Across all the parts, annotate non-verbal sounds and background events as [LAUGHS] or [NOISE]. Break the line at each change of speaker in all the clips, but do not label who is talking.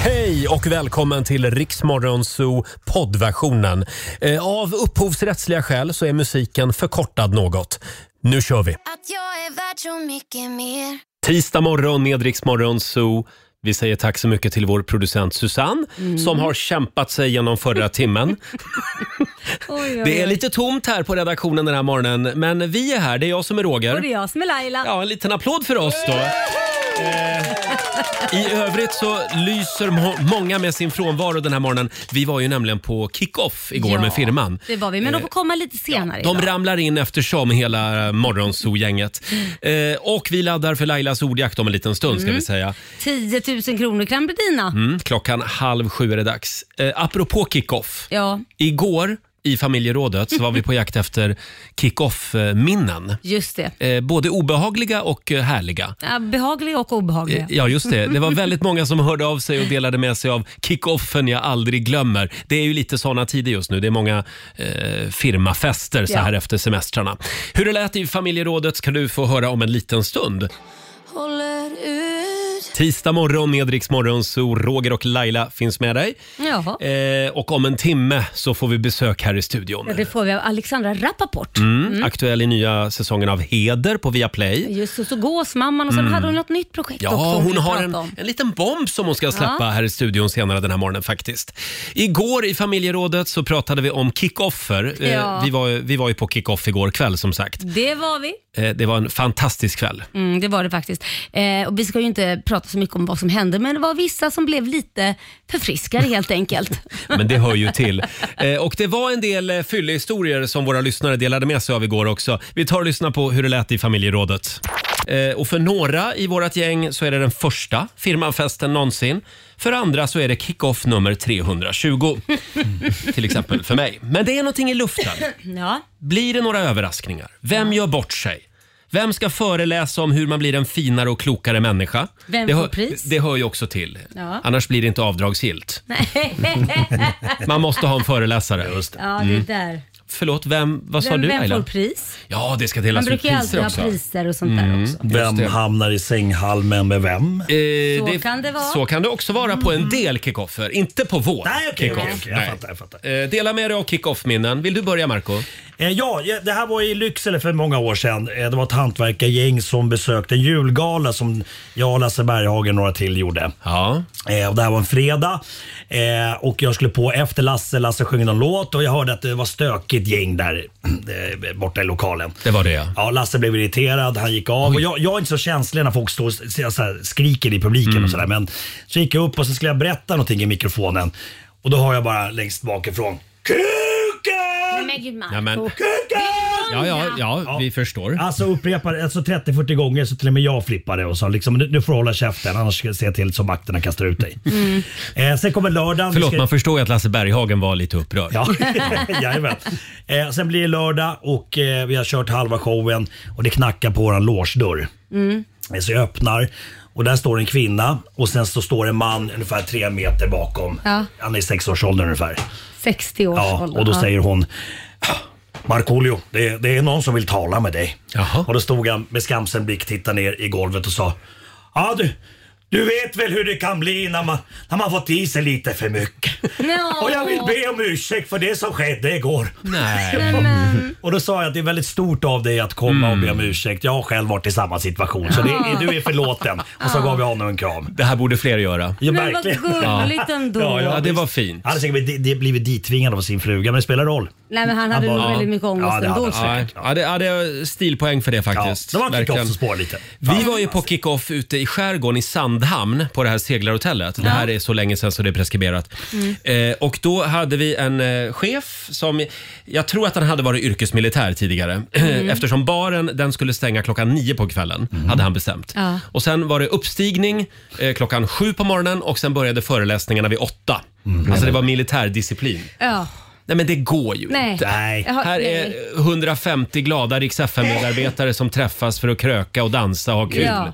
Hej och välkommen till Riksmorgonzoo poddversionen. Eh, Av upphovsrättsliga skäl så är musiken förkortad något. Nu kör vi!
Att jag är värd så mycket mer
Tisdag morgon med Riksmorgonzoo. Vi säger tack så mycket till vår producent Susanne
Mm.
som har kämpat sig genom
[LAUGHS]
förra timmen. Det är lite tomt här på redaktionen den här morgonen, men vi är här. Det är jag som är
Och det är
Roger.
jag som är Laila.
Ja, en liten applåd för oss då. Eh, I övrigt så lyser må många med sin frånvaro den här morgonen. Vi var ju nämligen på kick-off igår
Ja,
med firman. Eh,
Det var vi, men de får komma lite senare
De
idag.
ramlar in eftersom hela morgonzoo-gänget. Eh, och vi laddar för Lailas ordjakt om en liten stund ska vi säga.
10 000 kronor kan bli dina.
Mm, klockan halv sju är det dags. Eh, apropå kick-off.
Ja,
Igår i familjerådet så var vi på jakt efter kick-off-minnen.
just det.
Eh, både obehagliga och eh, härliga.
Ja, behagliga och
Eh,
obehagliga.
Ja, just det. Det var väldigt många som hörde av sig och delade med sig av kickoffen jag aldrig glömmer. Det är ju lite såna tider just nu. Det är många eh, firmafester så
Ja.
här efter semestrarna. Hur det lät i familjerådet ska du få höra om en liten stund.
håller ut
Tisdag morgon med Rix Morgon, så Roger och Laila finns med dig.
Ja.
Eh, och om en timme så får vi besök här i studion.
Ja, det får vi av Alexandra Rappaport.
Mm, Aktuell i nya säsongen av Heder på Viaplay.
Just det, så gåsmamman och sen hade hon något nytt projekt också.
Mm. Ja,
vill
hon har
prata
en,
om.
en liten bomb som hon ska släppa
Ja.
här i studion senare den här morgonen faktiskt. Igår i familjerådet så pratade vi om kickoffer.
Ja.
Eh, vi, var, vi var ju på kickoff igår kväll som sagt.
Det var vi.
Eh, det var en fantastisk kväll.
Mm, det var det faktiskt. Eh, och vi ska ju inte prata så mycket om vad som hände, men det var vissa som blev lite förfriskare helt enkelt.
Men det
[LAUGHS]
hör ju till. Eh, och det var en del eh, fyllehistorier som våra lyssnare delade med sig av igår också. Vi tar och lyssnar på hur det lät i familjerådet. Eh, och för några i vårt gäng så är det den första firmanfesten någonsin. För andra så är det kick-off nummer 320. Till exempel för mig. Men det är någonting i luften.
[LAUGHS] ja.
Blir det några överraskningar? Vem gör bort sig? Vem ska föreläsa om hur man blir en finare och klokare människa?
Vem
det,
får
hör,
pris?
det hör ju också till.
Ja.
Annars blir det inte avdragsgillt. Man måste ha en föreläsare.
[LAUGHS] ja,
Mm.
det är där.
Förlåt, vem, Mm. vad sa
Vem,
du
vem
Laila?
får pris?
Ja, det ska
Man
delas ut
brukar ju alltid
priser
ha
också.
priser och sånt där också.
Just det.
Mm. Vem hamnar i sänghalmen med vem?
Eh,
Så kan det vara. Mm.
Så kan det också vara på en del kickoffer, inte på vår
Nej, okej,
kickoff.
okej, okej. Jag
Nej.
fattar, jag fattar.
Eh, dela med dig av kickoff-minnen. Vill du börja Marco?
Eh, Ja, ja, det här var i Lycksele för många år sedan. Eh, Det var ett hantverkargäng som besökte en julgala som jag, Lasse Berghagen och några till gjorde.
Ja.
Eh, och det här var en fredag eh, och jag skulle på efter Lasse. Lasse sjöng någon låt och jag hörde att det var stökigt gäng där [CLEARS THROAT] eh, borta i lokalen.
Det var det, ja.
Ja, Lasse blev irriterad, han gick av. Och jag, jag är inte så känslig när folk står och s- så här, skriker i publiken
Mm.
och sådär. Men så gick jag upp och så skulle jag berätta någonting i mikrofonen och då hör jag bara längst bakifrån KUKEN!
Men gud Marco.
Ja, men-
KUKEN!
Ja, ja, ja,
Ja.
vi förstår.
Alltså upprepade alltså 30-40 gånger så till och med jag flippade och sa liksom nu, nu får du hålla käften annars ska jag se till så makterna kastar ut
[LAUGHS]
dig. Eh, sen kommer lördagen. vi
Förlåt,
ska-
man förstår ju att Lasse Berghagen var lite upprörd. [LAUGHS]
Ja, [LAUGHS] jajamän. Eh, sen blir det lördag och eh, vi har kört halva showen och det knackar på våran logedörr. Eh, Så jag öppnar och där står en kvinna och sen så står en man ungefär tre meter bakom.
Ja.
Han är i sexårsåldern ungefär.
60 års
Ja,
ålder.
och då
Ja.
säger hon Markoolio, det, det är någon som vill tala med dig.
Jaha.
Och då stod han med skamsen blick, tittade ner i golvet och sa Ja du, du vet väl hur det kan bli när man, när man fått i sig lite för mycket.
Nå.
Och jag vill be om ursäkt för det som skedde igår.
Nej.
Och då sa jag att det är väldigt stort av dig att komma och be
Mm.
om ursäkt. Jag har själv varit i samma situation så det, är- du är förlåten. Och så gav jag honom en kram.
Det här borde fler göra.
Ja,
Men vad
verkligen.
gulligt ändå.
Ja, ja.
Ja, det var fint.
Han hade säkert blivit, det blivit dittvingad av sin fruga men det spelar roll.
Nej men han hade
Han
nog
bara-
väldigt mycket ångest
Ja, det hade
ändå.
han.
Ja, ja, det, ja, det är stilpoäng för det faktiskt.
Ja, det var en
Verkligen.
kick-off som spårade lite.
Vi var ju på kickoff ute i skärgården i Sandhamn på det här seglarhotellet. Det här är så länge sedan så det är preskriberat.
Mm.
Eh, och då hade vi en eh, chef som, jag tror att han hade varit yrkesmilitär tidigare.
Mm.
[CLEARS THROAT] Eftersom baren den skulle stänga klockan nio på kvällen, hade han bestämt.
Ja.
Och sen var det uppstigning eh, klockan sju på morgonen och sen började föreläsningarna vid åtta.
Mm.
Alltså det var militärdisciplin.
Ja.
Nej men det går ju
Nej.
inte.
Nej.
Jag har-
Här
nej.
är 150 glada Rix FM-medarbetare som träffas för att kröka och dansa och ha kul.
Ja.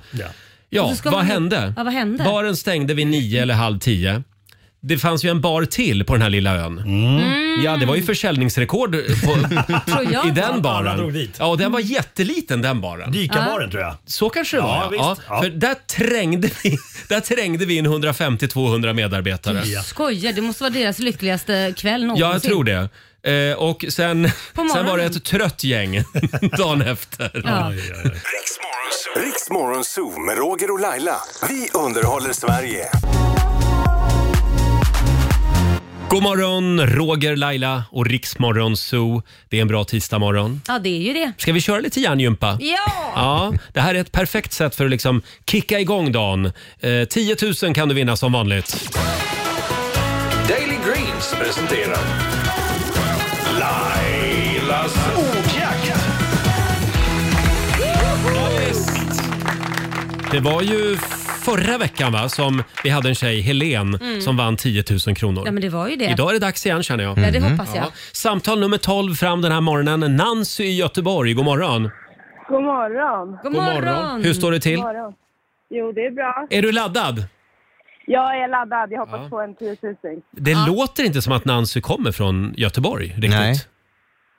Ja,
Och så ska
vad,
man-
hände?
Ja, vad hände?
Baren stängde vid nio eller halv tio. Det fanns ju en bar till på den här lilla ön. Ja, det var ju försäljningsrekord på,
Mm. [LAUGHS] Tror jag.
i den baren.
Alla drog dit.
Ja, och den var jätteliten den baren.
Dykabaren tror jag.
Så kanske det
Ja,
var.
visst. Ja.
För där trängde vi, [LAUGHS] där trängde vi in 150-200 medarbetare.
Ja.
Skojar, det måste vara deras lyckligaste kväll någonsin.
Ja, jag tror det. Eh, och sen,
På morgonen.
sen var det ett trött gäng [LAUGHS] dagen efter.
Ja.
Oj, oj, oj.
Riksmorgon Zoo med Roger och Laila. Vi underhåller Sverige.
God morgon, Roger, Laila och Riksmorgon Zoo. Det är en bra tisdagmorgon.
ja, det är ju det.
Ska vi köra lite hjärngympa?
Ja!
Ja, det här är ett perfekt sätt för att liksom kicka igång dagen. Eh, 10 000 kan du vinna som vanligt.
Daily Greens presenterar Lailas ordjakt.
Det var ju förra veckan va, som vi hade en tjej, Helen, som vann 10 000 kronor.
Mm. Ja, men det var ju det.
Idag är det dags igen känner jag. Mm.
Ja, det hoppas jag.
Ja. Samtal nummer 12 fram den här morgonen. Nancy i Göteborg, god morgon.
God morgon.
God morgon!
Hur står det till?
morgon. Jo, det är bra.
Är du laddad?
Jag är laddad. Jag hoppas
Ja.
på en 10 000.
Det låter inte som att Nancy kommer från Göteborg riktigt.
Nej.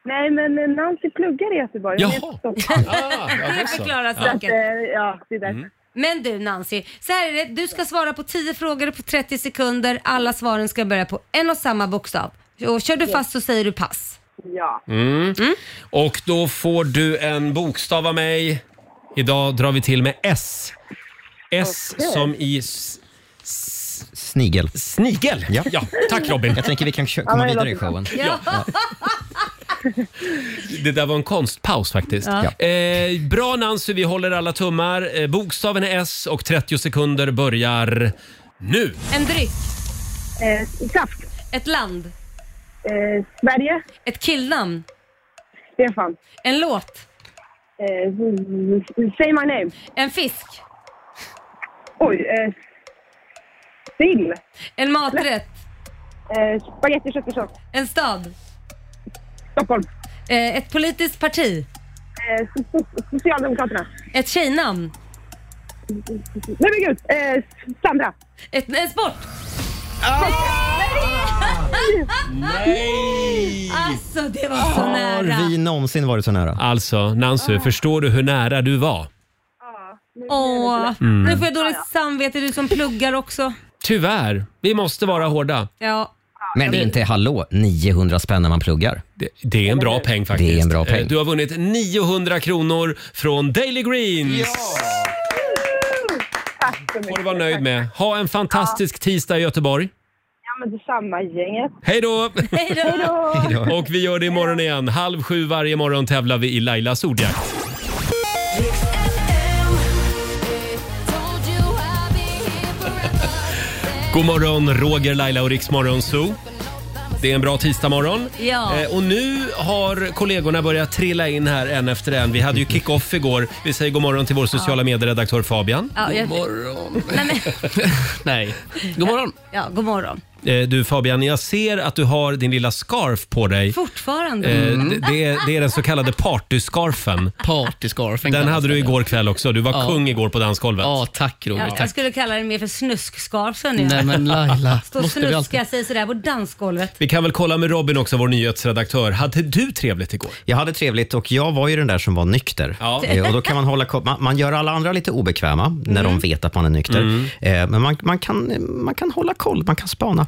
Nej, men Nancy pluggar i Göteborg. Hon är
Jaha.
i
[LAUGHS]
Stockholm.
Ah, ja, Mm.
det
det så.
förklarar
Så att,
saken.
eh, ja, det är därför.
Men du Nancy, så här är det. Du ska svara på 10 frågor på 30 sekunder. Alla svaren ska börja på en och samma bokstav. Och kör du fast så säger du pass.
Ja.
Mm. Och då får du en bokstav av mig. Idag drar vi till med S. S som i s-
Snigel.
snigel.
Ja.
tack Robin.
Jag tänker vi kan kö- komma
men det
vidare i
låter
showen.
Ja.
Det där var en konstpaus faktiskt.
Ja.
Eh, bra Nancy, vi håller alla tummar. Eh, bokstaven är S och 30 sekunder börjar nu.
[LAUGHS] En dryck,
Eh, kraft.
ett land,
Eh, Sverige.
ett killnamn,
Stefan.
en låt,
Eh, say my name.
en fisk,
Oj. Eh, sill.
en maträtt,
Eh, Spagetti köttfärssås.
en stad,
Stockholm.
eh, ett politiskt parti,
Eh, so- so- Socialdemokraterna.
ett tjejnamn,
Nej men gud! Eh, Sandra.
ett, en sport.
Ah! Nej!
Alltså det var
Ah,
så
Har vi
nära.
någonsin varit så nära?
Alltså Nancy, förstår du hur nära du var?
Åh,
Mm.
nu får jag dåligt samvete du som pluggar också.
Tyvärr, vi måste vara hårda.
Ja.
Men det är inte, hallå, 900 spänn när man pluggar.
Det, det är en bra peng faktiskt.
Det är en bra peng.
Eh, Du har vunnit 900 kronor från Daily Greens.
Tack så mycket.
får du vara nöjd med. Ha en fantastisk tisdag i Göteborg.
Ja men detsamma gänget.
Hej då!
Hej då.
Och vi gör det imorgon igen. Halv sju varje morgon tävlar vi i Lailas ordjakt. God morgon, Roger, Laila och Riksmorgon Zoo. Det är en bra tisdagmorgon.
Ja.
Eh, och nu har kollegorna börjat trilla in här en efter en. Vi hade ju kick-off igår. Vi säger god morgon till vår sociala medieredaktör Fabian.
Ja, jag,
Nej. God morgon.
ja, god morgon.
Eh, du Fabian, jag ser att du har din lilla scarf på dig.
Fortfarande. Mm.
Eh,
Mm.
det, det, är, det är den så kallade partyscarfen.
Partyscarfen.
Den
kan man
hade du
säga.
igår kväll också. Du var
Ja.
kung igår på dansgolvet.
Ja, tack Roger.
Ja, jag
tack.
skulle kalla det mer för snuskscarfen. ja. [LAUGHS]
Nej men Laila,
Stå och
måste vi alltid...
snuska sig sådär på dansgolvet.
Vi kan väl kolla med Robin också, vår nyhetsredaktör. Hade du trevligt igår?
Jag hade trevligt och jag var ju den där som var nykter.
Ja.
Eh, Och då kan man, hålla, ko- man, man gör alla andra lite obekväma när
Mm.
de vet att man är nykter. Eh, Men man, man, kan, man kan hålla koll, man kan spana.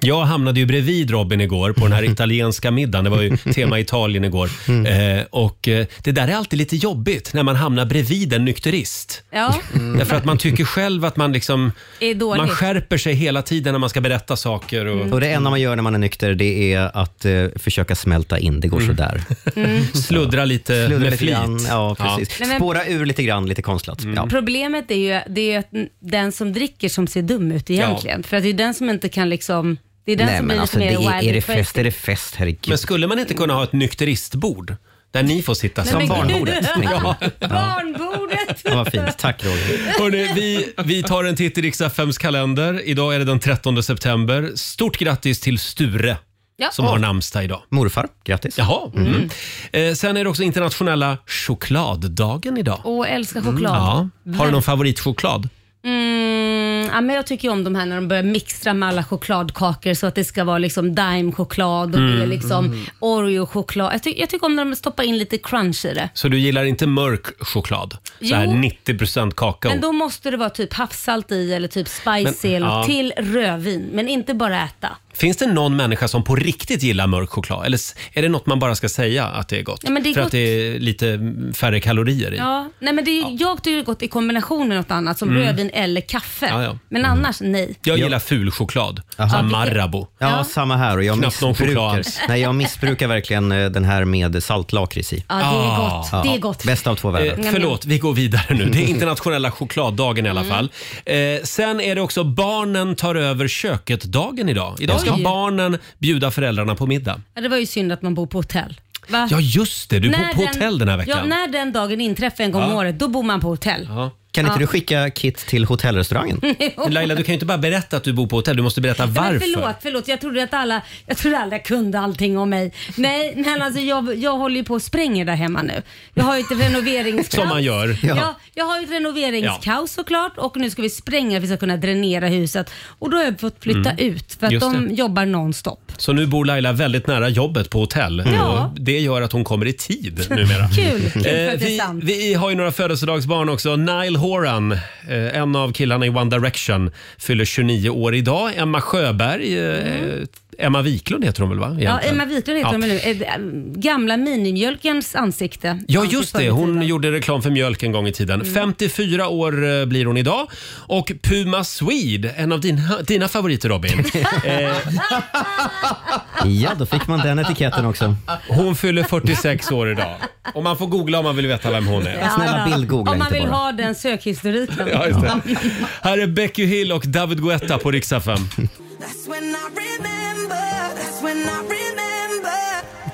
Jag hamnade ju bredvid Robin igår på den
[LAUGHS]
här italienska middagen. Det var ju tema Italien igår.
Mm.
Eh, och eh, det där är alltid lite jobbigt när man hamnar bredvid en nykterist.
Ja,
Mm.
Mm.
Därför att man tycker själv att man liksom...
är dåligt.
Man skärper sig hela tiden när man ska berätta saker. Och,
Och Det enda man gör när man är nykter det är att eh, försöka smälta in. Det går sådär.
Mm. [LAUGHS] Sluddra lite
Sluddra
med
lite
flit. Mm.
grann. Ja, precis.
Nej, men-
Spåra ur lite grann, lite konstlat. Ja.
Problemet är ju, det är ju att den som dricker som ser dum ut egentligen. För att det är den som inte kan liksom... Det är den
Nej,
som
men
blir
alltså,
lite
det
mer
är,
wild
är det
and crazy.
fest är det fest, herregud.
Men skulle man inte kunna ha ett nykteristbord? Där ni får sitta
Som
men gud. [LAUGHS]
barnbordet. Ja.
Barnbordet!
Ja, vad fint. Tack Roger.
Hörrni, vi, vi tar en titt i Riks-FMs kalender. Idag är det den 13 september. Stort grattis till Sture
Ja.
som har namnsdag idag.
Morfar, grattis.
Jaha. Mm. Eh, sen är det också internationella chokladdagen idag. Mm.
Mm,
Åh, älskar choklad.
Ja. Har du någon favoritchoklad?
Mm, ja, men jag tycker ju om de här när de börjar mixtra med alla chokladkakor så att det ska vara liksom daimchoklad och det
Mm,
är liksom Oreo-choklad. Jag, ty- jag tycker om när de stoppar in lite crunch i det.
Så du gillar inte mörk choklad? Så här
Jo.
90% kakao?
Men då måste det vara typ havssalt i eller typ spicy
Men-
eller
ja.
till rödvin. Men inte bara äta.
Finns det någon människa som på riktigt gillar mörk choklad? Eller s- är det något man bara ska säga att det är gott?
Ja, men det är
För att
gott.
det är lite färre kalorier i?
Ja, nej men det är, Jag tycker det är gott i kombination med något annat som rödvin eller kaffe.
Mm. Ja, Mm. ja.
Men annars nej.
Jag gillar ful choklad. Som Marabou.
Ja,
Ja.
samma här. Och jag,
Knappt någon choklad
missbrukar,
alls.
nej, jag missbrukar verkligen eh, den här med saltlakrits i.
Ja, det är
Ah.
gott. Det är gott.
Bäst av två världar.
Eh, förlåt, vi går vidare nu. Det är internationella chokladdagen i
Mm.
alla fall. Eh, sen är det också barnen tar över köket-dagen idag. Idag ska
Oj.
barnen bjuda föräldrarna på middag.
Ja, det var ju synd att man bor på hotell. Va?
Ja, just det. Du bor
När
på hotell den här veckan.
Ja, när den dagen inträffar en gång om året, då bor man på hotell.
Ja.
Kan inte du skicka kit
[LAUGHS]
till hotellrestaurangen?
Men Laila, du kan ju inte bara berätta att du bor på hotell. Du måste berätta
Nej,
varför.
Men förlåt, förlåt. Jag trodde att alla, jag trodde alla kunde allting om mig. Nej, men alltså jag, jag håller ju på och spränger där hemma nu. Jag
[LAUGHS]
har ju ett renoveringskaos.
Som man gör.
Ja.
Ja, jag har ju ett renoveringskaos såklart och nu ska vi spränga för att vi ska kunna dränera huset. Och då har jag fått flytta ut för att
Mm. Just
de
det.
jobbar nonstop.
Så nu bor Laila väldigt nära jobbet på hotell.
Ja.
Och det gör att hon kommer i tid numera.
Kul, kul för
Eh,
att det är
vi,
sant.
vi har ju några födelsedagsbarn också. Nile Horan, eh, en av killarna i One Direction, fyller 29 år idag. Emma Sjöberg, eh, Emma Wiklund heter hon väl? Va?
Ja,
egentligen?
Emma Wiklund heter
Ja.
hon väl nu. Eh, eh, Gamla minimjölkens ansikte.
Ja,
fanns ju
just
förr i
det. Hon
tiden.
gjorde reklam för mjölk en gång i tiden.
Mm.
54 år eh, blir hon idag. Och Puma Swede, en av dina, dina
[LAUGHS]
favoriter Robin.
Eh.
Eh,
Ja, då fick man den etiketten också.
Hon fyller 46 år idag. Och man får googla om man vill veta vem hon är.
Snälla bildgoogla
Om man
inte
vill
bara.
ha den sökhistoriken.
[LAUGHS] Ja, just det. Här är Becky Hill och David Guetta på riksdag 5.
That's when I remember, that's when I remember.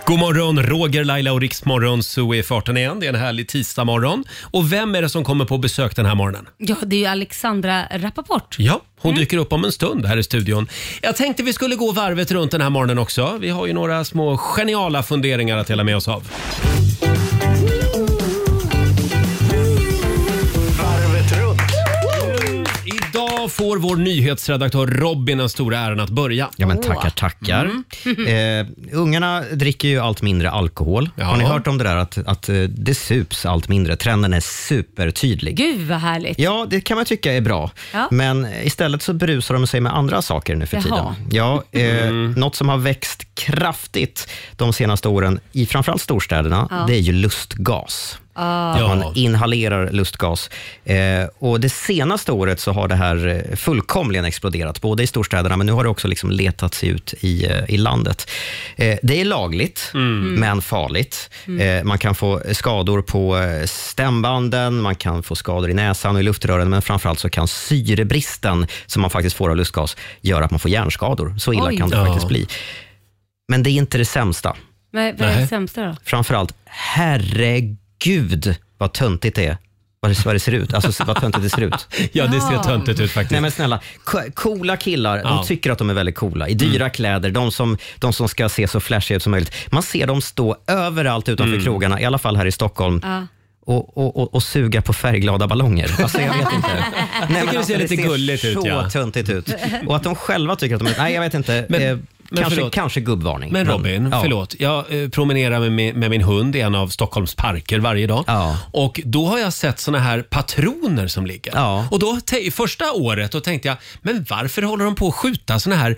God morgon, Roger, Laila och Riksmorgon så är farten igen. Det är en härlig tisdagmorgon. Och vem är det som kommer på besök den här morgonen?
Ja, det är ju Alexandra Rappaport.
Ja, hon dyker upp om en stund här i studion. Jag tänkte vi skulle gå varvet runt den här morgonen också. Vi har ju några små geniala funderingar att dela med oss av.
Varvet runt.
Idag får vår nyhetsredaktör Robin den stora äran att börja. Mm.
Ja, men tackar, tackar. Eh, ungarna dricker ju allt mindre alkohol.
Ja.
Har ni hört om det där att, att eh, det sups allt mindre? Trenden är supertydlig.
Gud vad härligt.
Ja, det kan man tycka är bra.
Ja.
Men istället så berusar de sig med andra saker nu för
Jaha.
tiden. Ja, eh, Något som har växt kraftigt de senaste åren, i framförallt storstäderna, det är ju lustgas. Att
Ja.
man inhalerar lustgas. Eh, och det senaste året så har det här eh, fullkomligen exploderat, både i storstäderna, men nu har det också liksom letat sig ut i, eh, i landet. Eh, det är lagligt, men farligt. Eh, man kan få skador på eh, stämbanden, man kan få skador i näsan och i luftrören, men framförallt så kan syrebristen som man faktiskt får av lustgas göra att man får hjärnskador. Så illa
Oj.
kan det
Ja.
faktiskt bli. Men det är inte det sämsta
Men vad är
Nej.
det sämsta då?
framförallt, herregud vad töntigt det är. Vad det, vad det ser ut. Alltså vad töntigt det ser ut.
[LAUGHS] Ja, det ser
Ja.
töntigt ut faktiskt.
Nej men snälla, co- coola killar,
Ja. Mm.
de tycker att de är väldigt coola. I dyra kläder, de som, de som ska se så flashiga ut som möjligt. Man ser dem stå överallt utanför
Mm.
krogarna, i alla fall här i Stockholm.
Ja.
Och, och, och, och suga på färgglada ballonger. Alltså jag
[LAUGHS]
vet inte. Nej, alltså,
det ser lite gulligt ut,
så
ja.
töntigt ut. Och att de själva tycker att de är... Nej, jag vet inte.
Men-
eh,
men
kanske,
förlåt.
kanske gubbvarning.
Men Robin,
ja.
förlåt. Jag eh, promenerar med, mi- med min hund i en av Stockholms parker varje dag.
Ja.
Och då har jag sett såna här patroner som ligger.
Ja.
Och då te- i första året då tänkte jag, men varför håller de på att skjuta såna här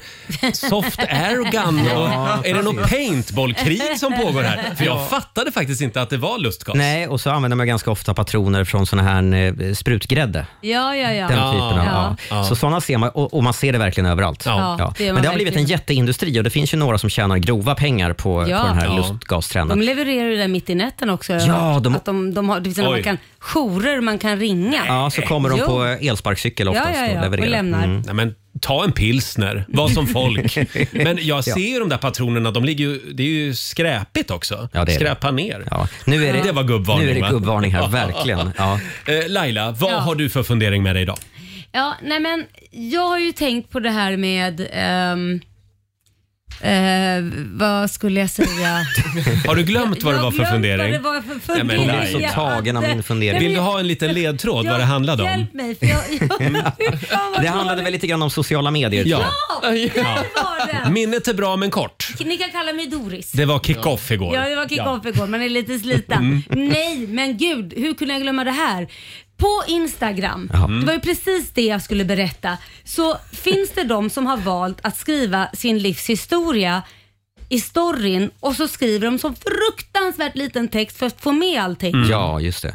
soft air och
[LAUGHS]
gun? och, är det något paintballkrig som pågår här? För jag fattade faktiskt inte att det var lustgas.
Nej, och så använder man ganska ofta patroner från sån här eh, sprutgrädde.
Ja, ja, ja.
Den typen av,
Ja.
ja. Så såna ser man och, och man ser det verkligen överallt.
Ja.
Ja, det gör man
Men det har blivit en
verkligen.
jätteindustri och det finns ju några som tjänar grova pengar på,
Ja.
på den här
Ja.
lustgastrenden.
De levererar ju det mitt i nätten också.
Ja, de-
Att de, de har, det finns sådana
Oj.
man kan, jourer man kan ringa.
Ja, så kommer de
Jo.
på elsparkcykel
ja,
oftast
ja, ja.
och levererar. Mm.
Och lämnar.
Nej, men ta en pilsner, var som
[LAUGHS]
folk. Men jag ser ju de där patronerna, de ligger ju, det är ju skräpigt också.
Ja, det är det.
Skräpa ner.
Ja. Nu är det,
Det var gubbvarning,
Nu är
va?
det gubbvarning
[LAUGHS]
här, verkligen. Ja.
Eh, Laila, vad
Ja.
har du för fundering med dig idag?
Ja, nej men jag har ju tänkt på det här med ehm, Eh, vad skulle jag
[LAUGHS]
säga?
Har du glömt vad det
Jag
var
har
för
glömt
fundering?
Vad det var för
Nej, men
fundering.
hon är så
Jag
tagen av
hade-
min fundering.
Nej, men
Vill du ha en liten ledtråd vad det handlade om?
Hjälp mig, för jag... jag
Det handlade väl lite grann om sociala medier. tror
Ja.
jag.
Ja, det var det.
Minnet är bra men kort.
Ni kan kalla mig Doris.
Det var kick-off igår.
Ja, det var kick-off igår. Man är lite sliten.
Mm.
Nej, men gud, hur kunde jag glömma det här? På Instagram, det var ju precis det jag skulle berätta, så finns det de som har valt att skriva sin livshistoria i storyn och så skriver de som fruktansvärt liten text för att få med allting.
Mm. Ja, just det.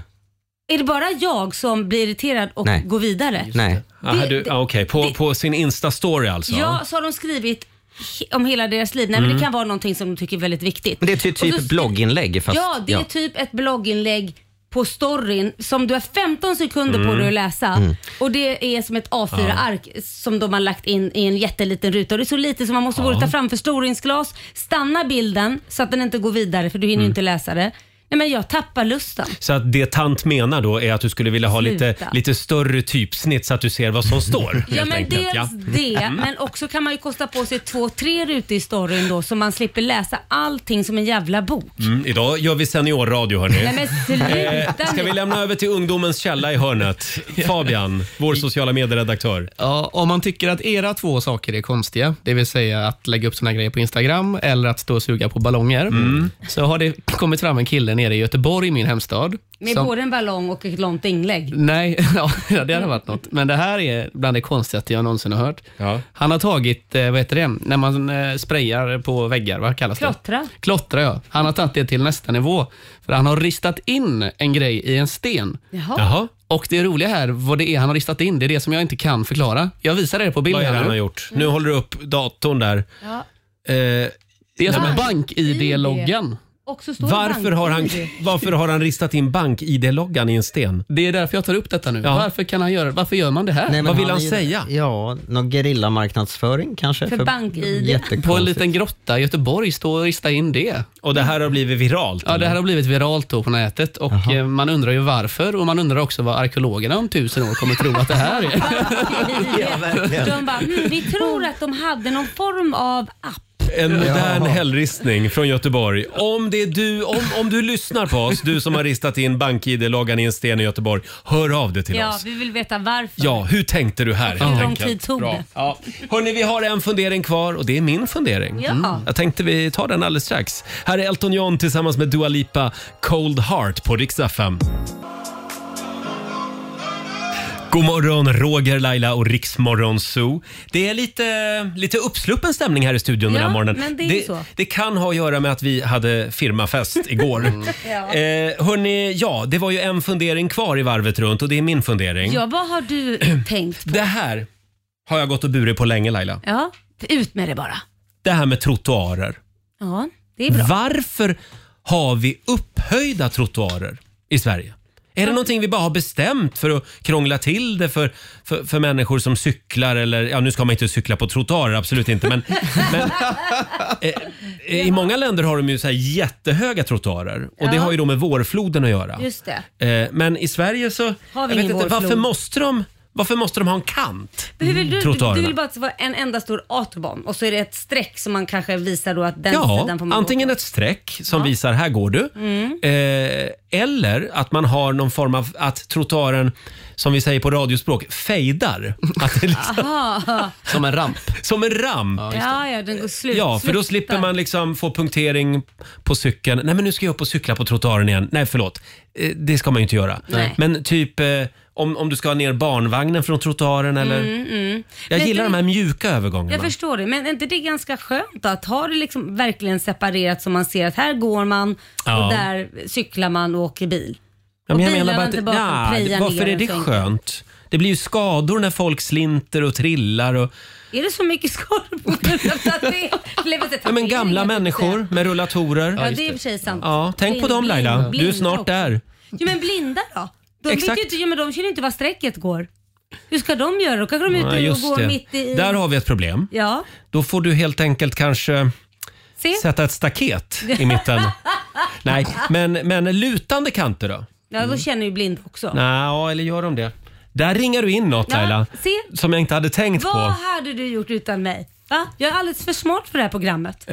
Är det bara jag som blir irriterad och
Nej.
går vidare?
Nej.
Aha,
Det-
du, ah, okej. På,
det-
på sin Insta-story alltså?
Ja, så har de skrivit he- om hela deras liv. Nej, men det kan vara någonting som de tycker är väldigt viktigt.
Mm. Men det är ty-
Och
typ
så skri-
blogginlägg. Fast,
Ja, det är typ ett blogginlägg på storyn som du har 15 sekunder på dig att läsa. Och det är som ett A4-ark som de har lagt in i en jätteliten ruta. Och det är så lite som man måste både ta fram förstoringsglas, stanna bilden så att den inte går vidare för du hinner ju inte läsa det. Nej men jag tappar lusten.
Så att det tant menar då är att du skulle vilja ha lite,
Sluta.
lite större typsnitt så att du ser vad som står.
Ja
helt
men
enkelt.
dels
Ja.
det, men också kan man ju kosta på sig två, tre rutor i storyn då så man slipper läsa allting som en jävla bok.
Mm, idag gör vi seniorradio hörni.
Nej men sluta
Eh, ska vi
nu.
lämna över till ungdomens källa i hörnet? Fabian, vår sociala medieredaktör.
Ja, om man tycker att era två saker är konstiga, det vill säga att lägga upp såna grejer på Instagram eller att stå och suga på ballonger, så har det kommit fram en kille nere i Göteborg, min hemstad.
Med
som-
både en ballong och ett långt inlägg.
Nej, [LAUGHS] ja, det hade varit något. Men det här är bland det konstigaste jag någonsin har hört.
Ja.
Han har tagit, eh, vad heter det, när man eh, sprayar på väggar, vad kallas
Klottra.
det? Klottra. ja. Han har tagit det till nästa nivå. För han har ristat in en grej i en sten.
Jaha.
Jaha,
Och det roliga här, vad det är han har ristat in, det är det som jag inte kan förklara. Jag visar er på bild
vad är det
här
han har
nu. Mm.
gjort? Nu håller du upp datorn där.
Ja.
Eh,
Det är som
Bank-
bank-id-loggan.
Och så står det
varför, har han,
bank-id.
varför har han ristat in bank-id-loggan i en sten?
Det är därför jag tar upp detta nu.
Ja.
Varför, kan han göra, varför gör man det här?
Nej, men
Vad vill han
är ju-
säga?
Ja, någon gerillamarknadsföring kanske.
För bank-ID.
Jättekonstigt.
På en liten grotta i Göteborg, stå och rista in det.
Och det här har blivit viralt?
Ja, det
eller?
här har blivit viralt då på nätet och eh, man undrar ju varför och man undrar också vad arkeologerna om tusen år kommer tro att det
[LAUGHS]
här är.
Ja, verkligen.
De bara, "Mm, vi tror att de hade någon form av app.
En modern hällristning från Göteborg. Om, det är du, om, om du lyssnar på oss, du som har ristat in bank-id-loggan i en sten i Göteborg, hör av dig till
Ja,
oss.
vi vill veta varför.
Ja, hur tänkte du här helt
Hur lång
enkelt?
tid tog
Bra.
det?
Ja. Hörni, vi har en fundering kvar och det är min fundering. Mm.
Ja.
Jag tänkte vi tar den alldeles strax. Här är Elton John tillsammans med Dua Lipa, Cold Heart på Rix FM. God morgon, Roger, Laila och Riksmorgon Zoo. Det är lite, lite uppsluppen stämning här i studion den här
Ja,
morgonen.
men det är ju så.
det kan ha att göra med att vi hade firmafest igår.
[LAUGHS] Ja.
eh, hörni, ja, det var ju en fundering kvar i varvet runt och det är min fundering.
Ja, vad har
[CLEARS THROAT]
du tänkt?
Mm. Det här har jag gått och burit på länge Laila.
Ja, ut med det bara.
Det här med trottoarer.
Ja, det är bra.
Varför har vi upphöjda trottoarer i Sverige? Är det någonting vi bara har bestämt för att krångla till det för, för, för människor som cyklar eller, ja nu ska man inte cykla på trottoarer, absolut inte
[LAUGHS]
men, men eh, i många länder har de ju så här jättehöga trottoarer och det
Ja.
har ju då med vårfloden att göra.
Just det.
Eh, men i Sverige så,
Har vi
jag vet
ingen
inte, varför
vårflod?
måste de, varför måste de ha en kant?
Men Hur vill du, du,
Trottoarerna.
du vill bara att det ska vara en enda stor autobahn och så är det ett streck som man kanske visar då att den
Ja,
sidan får man
antingen
gå
ett streck som visar här går du.
Mm.
Eh, eller att man har någon form av att trottoaren, som vi säger på radiospråk,
[LAUGHS]
fejdar. Att det är liksom, [LAUGHS]
Som en ramp.
som en ramp.
på. Ja, ja, den går slut.
Ja, för då slipper man liksom få punktering på cykeln. Nej, men nu ska jag upp och cykla på trottoaren igen. Nej, förlåt. Eh, Det ska man ju inte göra.
Nej.
Men typ eh, om, om du ska ha ner barnvagnen från trottoaren eller... Jag
Mm. Men
gillar
du-
de här mjuka övergångarna.
Jag förstår det, men är inte det ganska skönt att ha det liksom verkligen separerat så man ser att här går man
Ja.
och där cyklar man och åker bil?
Ja,
Och
men jag menar
bilarna
bara
inte
att,
bakom
ja,
prejar
varför
ner
är
en
det
säng.
skönt? Det blir ju skador när folk slinter och trillar. Och,
Är det så mycket skador på det?
ja, men gamla människor med rullatorer.
Ja,
Ja,
det är i och för sig sant.
tänk på
Blind-
dem Laila.
blind-
Du är
blinda
snart
också.
där.
Jo, men blinda då? De, Vet
Exakt.
ju inte, ja, men de känner ju inte var strecket går. Hur ska de göra? Då kanske de är
Ja,
ute och
just
går
det.
mitt i...
Där har vi ett problem.
Ja,
Då får du helt enkelt kanske
se.
sätta ett staket
[LAUGHS]
i mitten. Nej, men, men lutande kanter då?
Ja, då känner ju blind också.
Nej, eller gör de det? Där ringar du in något
Ja,
Laila.
se.
Som jag inte hade tänkt
Vad
på.
hade du gjort utan mig? Va? Jag är alldeles för smart för det här
Eh,
programmet.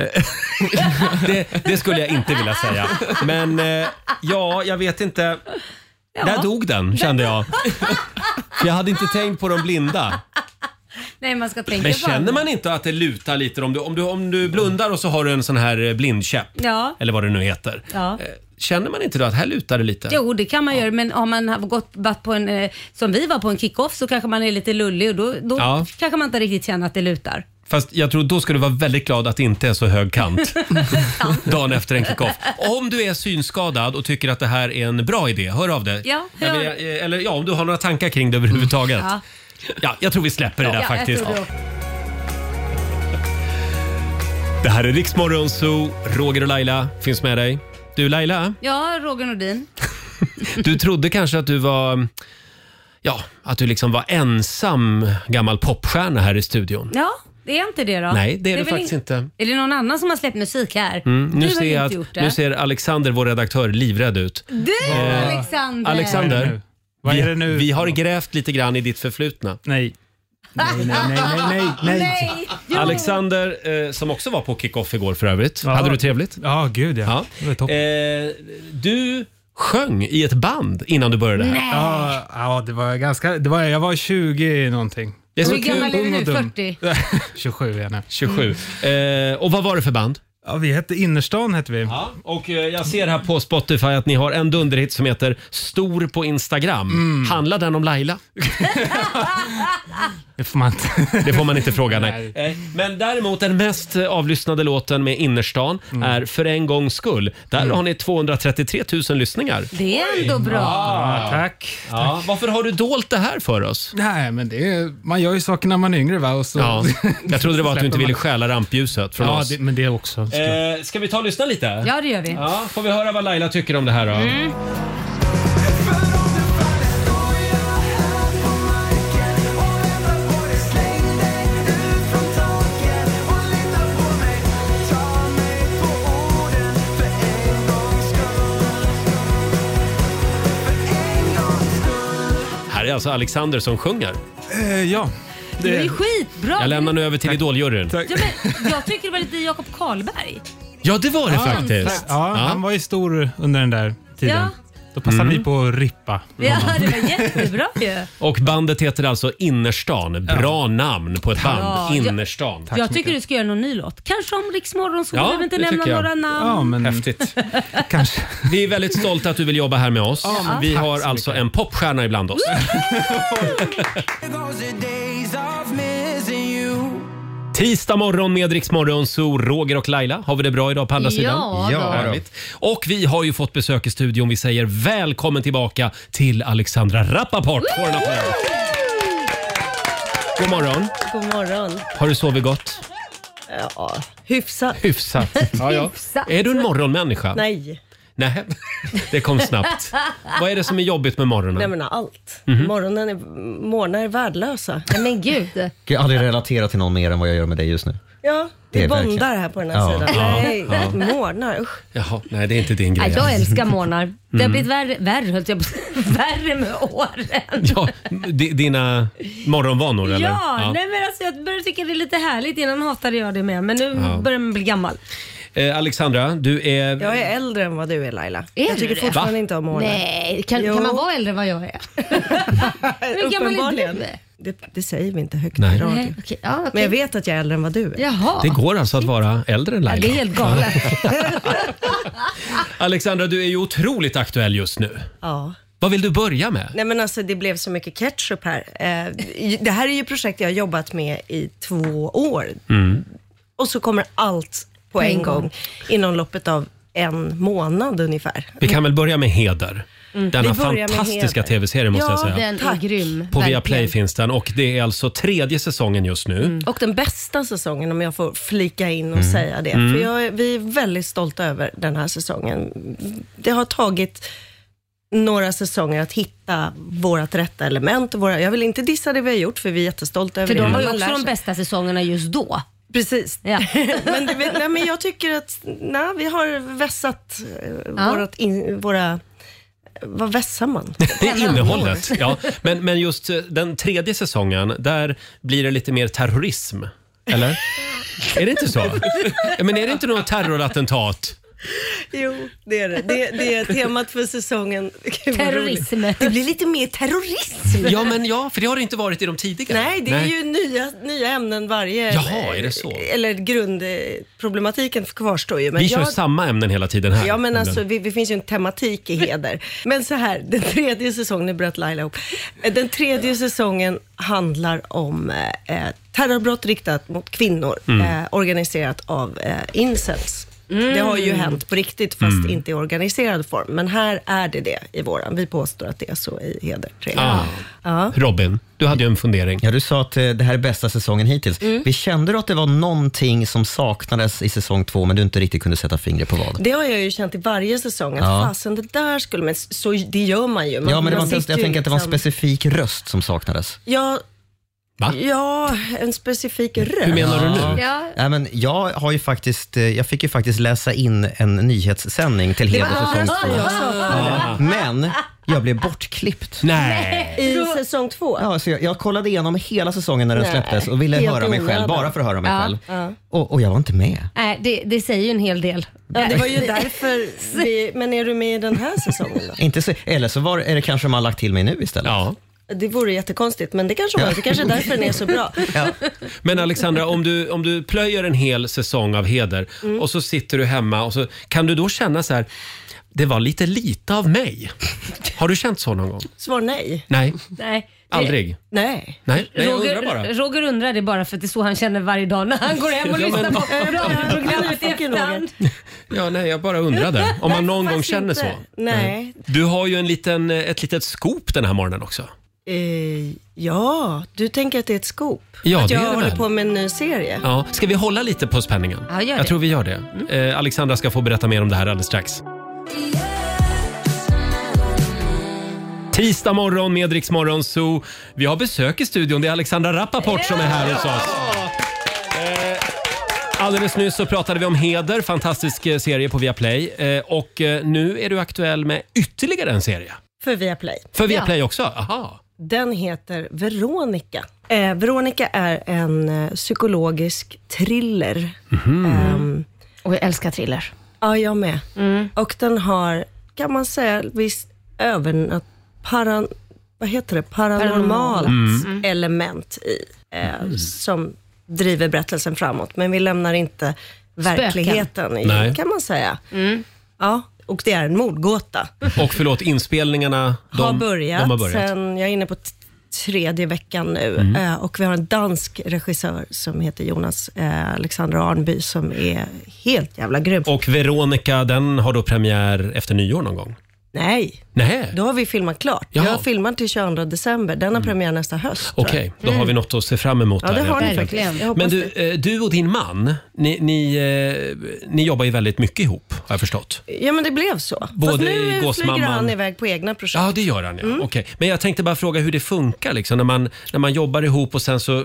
Det, det skulle jag inte vilja säga. Men eh, ja, jag vet inte. Där dog den kände jag. För jag hade inte tänkt på de blinda.
Nej, man ska tänka
Men
på
känner man inte att det lutar lite om du, om du, om du blundar och så har du en sån här eh, blindkäpp?
Ja.
Eller vad det nu heter.
Ja.
Eh, Känner man inte då att här lutar det lite?
Jo, det kan man göra, men om man har gått varit på en, eh, som vi var på en kick-off så kanske man är lite lullig och då, då
Ja.
kanske man inte riktigt känner att det lutar.
Fast jag tror då ska du vara väldigt glad att det inte är så hög kant dagen efter en kick-off. Om du är synskadad och tycker att det här är en bra idé, hör av dig.
[LAUGHS] Ja, hör
eller, eh,
av
eller ja, om du har några tankar kring det överhuvudtaget.
Ja.
Ja, jag tror vi släpper det där
jag
faktiskt.
tror det.
Det här är Riksmorgon Zoo. Roger och Laila finns med dig. Du Laila,
Ja, Roger Nordin. [LAUGHS]
du trodde kanske att du var... Ja, att du liksom var ensam gammal popstjärna här i studion.
Ja, det är inte det då?
Nej, det är det,
väl
faktiskt
in-
inte. Mm,
Är det någon annan som har släppt musik här?
Nu
du har
ser,
ju
jag
inte
att,
gjort det.
nu ser Alexander, vår redaktör, livrädd ut. Eh,
Du Alexander!
Alexander,
Vad
vi,
är det nu?
vi har grävt lite grann i ditt förflutna.
Nej. Nej, nej, nej, nej, nej. nej.
Nej! Jo.
Alexander, eh, som också var på kick-off igår för övrigt.
Ja.
Hade du trevligt?
Ja, gud ja.
Ja.
Det var toppen.
Eh, du sjöng i ett band innan du började här.
Ja, ja, det var ganska... Det var, jag var 20 någonting.
Det är
Hur
så
gammal
kul.
är du nu?
Ung och dum.
40?
27 är jag nu.
27. Eh, och vad var det för band?
Ja, vi hette Innerstan hette vi.
Ja, och eh, jag ser här på Spotify att ni har en dunderhit som heter Stor på Instagram.
Mm.
Handlar den om Laila?
Det får man inte.
Det får man inte fråga, nej. Eh, Men däremot den mest eh, avlyssnade låten med Innerstan
Mm.
är För en gångs skull. Där har ni 233 000 lyssningar.
Det är ändå bra.
Ja, tack.
Ja. Varför har du dolt det här för oss?
Nej, men det är, man gör ju saker när man är yngre va? Och så,
Ja, jag trodde det var att du inte ville
[LAUGHS] släpper
stjäla rampljuset från
man- Ja,
oss.
det, men det också.
Eh, ska vi ta och lyssna lite?
Ja, det gör vi.
Ja, får vi höra vad Laila tycker om det här då?
Mm.
Här är alltså Alexander som sjunger.
Eh, ja.
Det är skitbra.
Jag lämnar nu över till Idoljuryn.
Ja, men jag tycker det var lite Jakob Karlberg.
Ja, det var det
Ja,
faktiskt.
Ja, han var ju stor under den där tiden.
Ja.
Då passade vi på att rippa.
Ja, det var jättebra ju.
Mm. Och bandet heter alltså Innerstan. Bra namn på ett band.
Ja, jag-
Innerstan.
jag tycker du ska göra någon ny låt. Kanske om Rix Morgon så
Ja,
behöver inte
det
nämna
tycker jag.
några namn.
Ja, men
Häftigt.
[LAUGHS] kanske.
Vi är väldigt stolta att du vill jobba här med oss. vi har alltså en popstjärna ibland oss. Tisdag morgon med Rix Morgon, så Roger och Laila. Har vi det bra idag på andra sidan?
Ja, ja.
Ja, då.
Härligt. Och vi har ju fått besök i studion. Vi säger välkommen tillbaka till Alexandra Rappaport. Får en applåd. God morgon.
God morgon.
Har du sovit gott?
Ja, hyfsat.
[LAUGHS]
Hyfsat.
Hyfsat.
Är du en morgonmänniska?
Nej,
Nej, [LAUGHS] det kom snabbt. Vad är det som är Mhm. jobbigt med
jag
morgonen?
menar allt. Morgonen är, morgnar är värdelösa.
Nej, Men gud.
Jag kan aldrig relatera till någon mer än vad jag gör med dig just nu.
Ja,
Det är
vi
verkligen-
bondar här på den här
Ja.
sidan.
Ja,
Nej,
ja.
morgnar. Usch.
Jaha, nej det är inte din
Nej,
grej. Mm.
jag älskar
[LAUGHS]
morgnar. Det har blivit värre, värre höll jag på [LAUGHS] Värre med åren.
Ja, di- dina morgonvanor eller?
Ja, Nej, men alltså, jag börjar tycka det är lite härligt. Innan hatade jag det med, men nu
Ja.
börjar man bli gammal.
Eh, Alexandra, du är...
Jag är äldre än vad du är Laila.
Är
jag
du
tycker
det?
fortfarande
Va?
inte om morgnar.
Nej, kan,
Jo.
kan man vara äldre än vad
[LAUGHS]
jag är? Hur gammal är
Uppenbarligen.
du?
Det, det säger vi inte högt
Nej.
i radio.
Nej, okej. Ja, okej.
Men jag vet att jag är äldre än vad du är.
Jaha.
Det går alltså att vara äldre än
Ja,
Laila.
det är helt galet.
[LAUGHS] Alexandra, du är ju otroligt aktuell just nu.
[LAUGHS] Ja.
Vad vill du börja med?
Nej men alltså det blev så mycket ketchup här. Eh, Det här är ju projekt jag har jobbat med i två år.
Mm.
Och så kommer allt på en gång inom loppet av en månad ungefär.
Vi kan väl börja med Heder.
Mm.
Denna
Vi börjar med
fantastiska
Heder.
tv-serie måste
Ja,
jag säga.
Den är grym.
På Viaplay
verkligen. Mm.
finns den och det är alltså tredje säsongen just nu. Mm.
Och den bästa säsongen om jag får flika in och säga det. För jag, är- vi är väldigt stolta över den här säsongen. Det har tagit några säsonger att hitta vårt rätta element. Våra, jag vill inte dissa det vi har gjort, för vi är jättestolta över
För
det.
de var ju
Man lär
också de
sig.
bästa säsongerna just då.
Precis.
Ja.
[LAUGHS] men, det, nej, men jag tycker att nej, vi har vässat eh,
Ja.
vårat in, våra... Vad vässar man?
Det är innehållet.
[LAUGHS]
Ja. Men, men just eh, den tredje säsongen, där blir det lite mer terrorism. Eller? Är det inte så? Ja, Men är det inte något terrorattentat?
Jo, det är det. Det, det är temat för säsongen. [LAUGHS] Gud, vad roligt.
Terrorism.
Det blir lite mer terrorism.
Ja, men ja, för det har det inte varit i de tidigare.
Nej, det är
Nej.
ju nya, nya ämnen varje...
Jaha, är det så?
Eller grundproblematiken kvarstår ju. Men
Vi kör
jag-
samma ämnen hela tiden här.
Ja, men alltså, vi, det finns ju en tematik i heder. Men så här, den tredje säsongen, nu bröt Laila ihop. Den tredje säsongen handlar om eh, eh, terrorbrott riktat mot kvinnor,
Mm.
eh, organiserat av eh, incels.
Mm.
Det har ju hänt på riktigt, fast
Mm.
inte i organiserad form. Men här är det det i våran. Vi påstår att det är så i heder. tre.
Ah.
Ja.
Robin, du hade ju en fundering.
Ja, du sa att eh, det här är bästa säsongen hittills.
Mm.
Vi kände du att det var någonting som saknades i säsong två, men du inte riktigt kunde sätta fingret på vad?
Det har jag ju känt i varje säsong, att
Ja.
fasen det där skulle man... Så, det gör man ju. Man,
ja, men det
man
var inte,
sitter
jag
ju
tänker att det var en
liksom-
specifik röst som saknades.
Ja,
Va?
ja en specifik röst. Ja.
Nej, men jag, har ju faktiskt, eh, jag fick ju faktiskt läsa in en nyhetssändning till
Det
Heder
var
säsong
rösten
två.
jag saknade.
Ja. Men jag blev bortklippt.
Nej.
I säsong två?
Ja, så jag, jag kollade igenom hela säsongen när den
Nej,
släpptes och ville
helt
höra mig
onödan.
själv, bara för att höra mig
Ja,
själv.
ja.
Och, och jag var inte med.
Nej, Äh, det, det säger ju en hel del.
Ja, det var
[LAUGHS]
ju därför vi, Men är du med i den här säsongen då?
Inte så, eller så var, är det kanske man har lagt till mig nu istället.
Ja.
Det vore jättekonstigt, men det kanske var. Det kanske är därför den är så bra.
Men Alexandra, om du, om du plöjer en hel säsong av heder
Mm.
och så sitter du hemma och så kan du då känna så här, det var lite lite av mig. Har du känt så någon gång?
Svar nej.
Nej,
Nej. det-
aldrig.
Nej.
Nej, nej jag
Roger,
undrar bara.
Roger undrar det bara för att det är så han känner varje dag när han går hem och
Ja,
lyssnar
men-
på
Ja, men-
[LAUGHS]
radioprogrammet i efterhand.
Ja, nej, jag bara undrade om man någon gång
faktiskt
känner
inte.
så.
Nej.
Du har ju en liten, ett litet scoop den här morgonen också.
Eh, ja, du tänker att det är ett scoop?
Ja,
att
det
jag
är det
håller
väl.
på med en ny serie?
Ja. Ska vi hålla lite på spänningen?
Ja, gör
jag
det. Mm.
tror vi gör det. Eh, Alexandra ska få berätta mer om det här alldeles strax. Tisdag morgon med Rix Morgon Zoo. Vi har besök i studion. Det är Alexandra Rappaport som är här hos oss. Eh, Alldeles nyss så pratade vi om Heder, fantastisk eh, serie på Viaplay. Eh, Och eh, nu är du aktuell med ytterligare en serie.
För Viaplay.
För Viaplay också? Aha.
Den heter Veronica. Eh, Veronica är en eh, psykologisk thriller.
Mhm.
Ehm,
Och jag älskar thriller.
Ja, jag med. Och den har, kan man säga, visst övernat... Paran, vad heter det? Paranormalt
Paranormalt. Mm.
element i. Eh,
Mm.
Som driver berättelsen framåt. Men vi lämnar inte verkligheten i,
Nej.
kan man säga. Ja, och det är en mordgåta.
Och förlåt, inspelningarna de,
har, börjat.
de har börjat.
Sen, jag är inne på t- tredje veckan nu
Mm.
eh, och vi har en dansk regissör som heter Jonas eh, Alexander Arnby som är helt jävla grym.
Och Veronica, den har då premiär efter nyår någon gång?
Nej,
Nej.
då har vi filmat klart.
Jaha. Mm.
Jag filmar till 22 december. Den har premiär nästa höst. tror
Okej,
jag.
då har vi något att se fram emot.
Mm. Ja, det
där
har ni
helt
verkligen.
enkelt.
Jag hoppas
Men du, eh, du och din man, ni, ni, eh, ni jobbar ju väldigt mycket ihop har jag förstått.
Ja, men det blev så.
Både
Fast
i
nu flyger
Gåsmamman-
han iväg på egna projekt. Mm.
Ja, det gör han ja. Okej. Men jag tänkte bara fråga hur det funkar liksom, när, man, när man jobbar ihop och sen så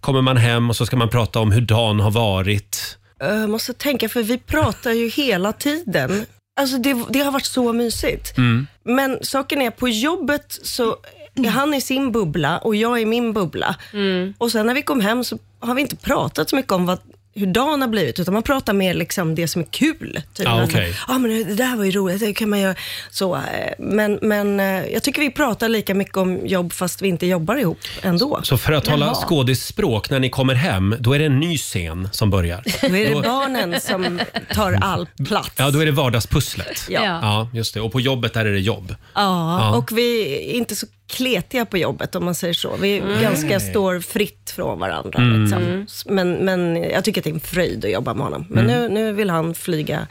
kommer man hem och så ska man prata om hur dagen har varit.
Jag Eh, måste tänka, för vi pratar ju hela tiden. Alltså det, det har varit så mysigt.
Mm.
Men saken är, på jobbet så är han i sin bubbla och jag i min bubbla.
Mm.
Och sen när vi kom hem så har vi inte pratat så mycket om vad, hur dagen har blivit, utan man pratar mer liksom det som är kul. Typ.
Ja,
Att,
okej.
"Ah, men det där var ju roligt, det kan man göra. Så, eh, men men eh, jag tycker vi pratar lika mycket om jobb fast vi inte jobbar ihop ändå.
Så för att tala
Jaha.
skådisspråk, när ni kommer hem, då är det en ny scen som börjar.
Då är
Då-
det barnen som tar
[LAUGHS]
all plats.
Ja, då är det vardagspusslet.
Ja.
ja, just det. Och på jobbet där är det jobb.
Ja,
Ja.
och vi är inte så kletiga på jobbet om man säger så. Vi
Mm. Nej.
ganska står fritt från varandra.
Mm.
Liksom.
Mm.
Men, men jag tycker att det är en fröjd att jobba med honom. Men
Mm.
nu, nu vill han flyga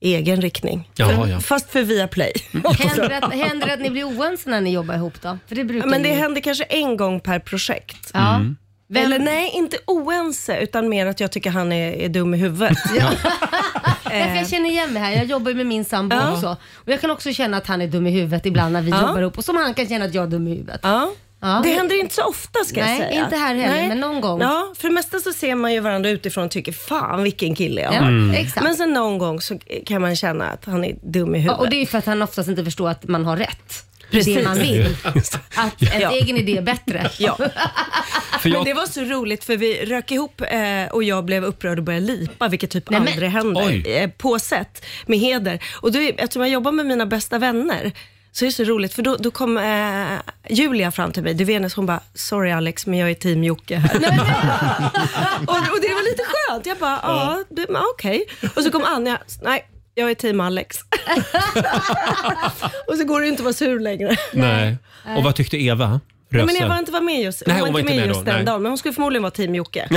i egen riktning.
Jaha,
För-
ja. Mm.
Fast för Viaplay. [LAUGHS]
Händer det att, händer det att ni blir oense när ni jobbar ihop då? För det brukar
Men det
ni-
händer kanske en gång per projekt.
Ja. Mm. Vem-
Eller nej, inte oense, utan mer att jag tycker han är, är dum i huvudet. [LAUGHS]
Därför jag känner igen mig här. Jag jobbar ju med min sambo
Ja.
också. Och jag kan också känna att han är dum i huvudet ibland när vi
Ja.
jobbar ihop. Och som han kan känna att jag är dum i huvudet.
Ja.
Ja.
Det händer inte så ofta ska
Nej,
jag säga.
inte här heller, men någon gång.
Ja, för det mesta så ser man ju varandra utifrån och tycker fan vilken kille jag
Ja,
har.
Mm. exakt.
Men sen någon gång så kan man känna att han är dum i
Ja,
huvudet.
och det är ju för att han oftast inte förstår att man har rätt. Det är
Precis.
[LAUGHS] Det man vill. Att ens
[LAUGHS] Ja.
egen idé är bättre.
Ja.
För jag-
Men det var så roligt för vi rök ihop eh, och jag blev upprörd och började lipa, vilket typ
Nej, men-
aldrig händer.
Oj.
Eh, på sätt, med heder. Och då, är- eftersom jag jobbar med mina bästa vänner så är det så roligt, för då, då kom eh, Julia fram till mig, du Venus, hon bara “Sorry Alex, men jag är team Jocke här”. [LAUGHS] och, och det var lite skönt. Jag bara “Ja, det- men okej”. Och så kom Anja, “Nej, jag är team Alex”. [LAUGHS] och så går det ju inte att vara sur längre.
Nej. Och vad tyckte Eva?
Nej,
Röse?
men jag var inte var med just,
Nej,
hon var inte med, just
då, nej.
den dagen, men hon skulle förmodligen vara team
[LAUGHS]
Jocke.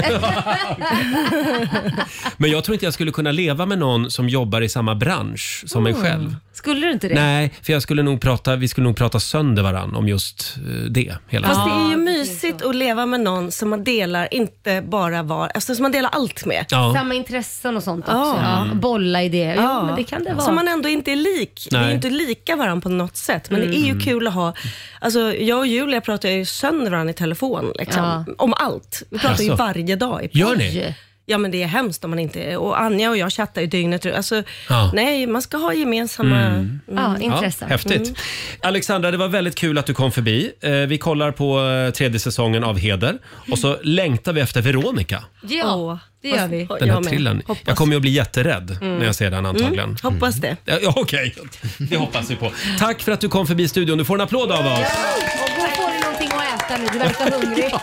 Men jag tror inte jag skulle kunna leva med någon som jobbar i samma bransch som
Mm.
mig själv.
Skulle du inte det?
Nej, för jag skulle nog prata, vi skulle nog prata sönder varann om just eh, det hela
Fast det
tiden.
är ju mysigt att leva med någon som man delar inte bara var, alltså som man delar allt med.
Ja.
Samma intressen och sånt också.
Ja.
Ja. Bolla idéer. Ah. Ja,
Ja.
men det kan det vara.
Som man ändå inte är lik. Vi är
Nej.
ju inte lika varandra på något sätt. Men det är ju
Mm.
kul att ha. Alltså, jag och Julia pratar ju sönder varandra i telefon. Liksom,
Ja.
Om allt. Vi pratar ju
Alltså.
varje dag. I
Gör ni?
Ja men det är hemskt om man inte Och Anja och jag chattar ju dygnet runt. Alltså,
Ja.
Nej, man ska ha gemensamma
Mm.
Ja,
Ja, häftigt.
Mm.
Alexandra, det var väldigt kul att du kom förbi. Eh, Vi kollar på eh, tredje säsongen av Heder och så längtar vi efter Veronica.
Ja, det gör vi.
Den här thrillern. Jag kommer ju att bli jätterädd
Mm.
när jag ser den antagligen.
Mm, hoppas
det.
Ja, ja, Okej, det hoppas vi på. Tack för att du kom förbi studion. Du får en applåd av oss.
Och då får du någonting att äta nu. Du verkar [LAUGHS] hungrig.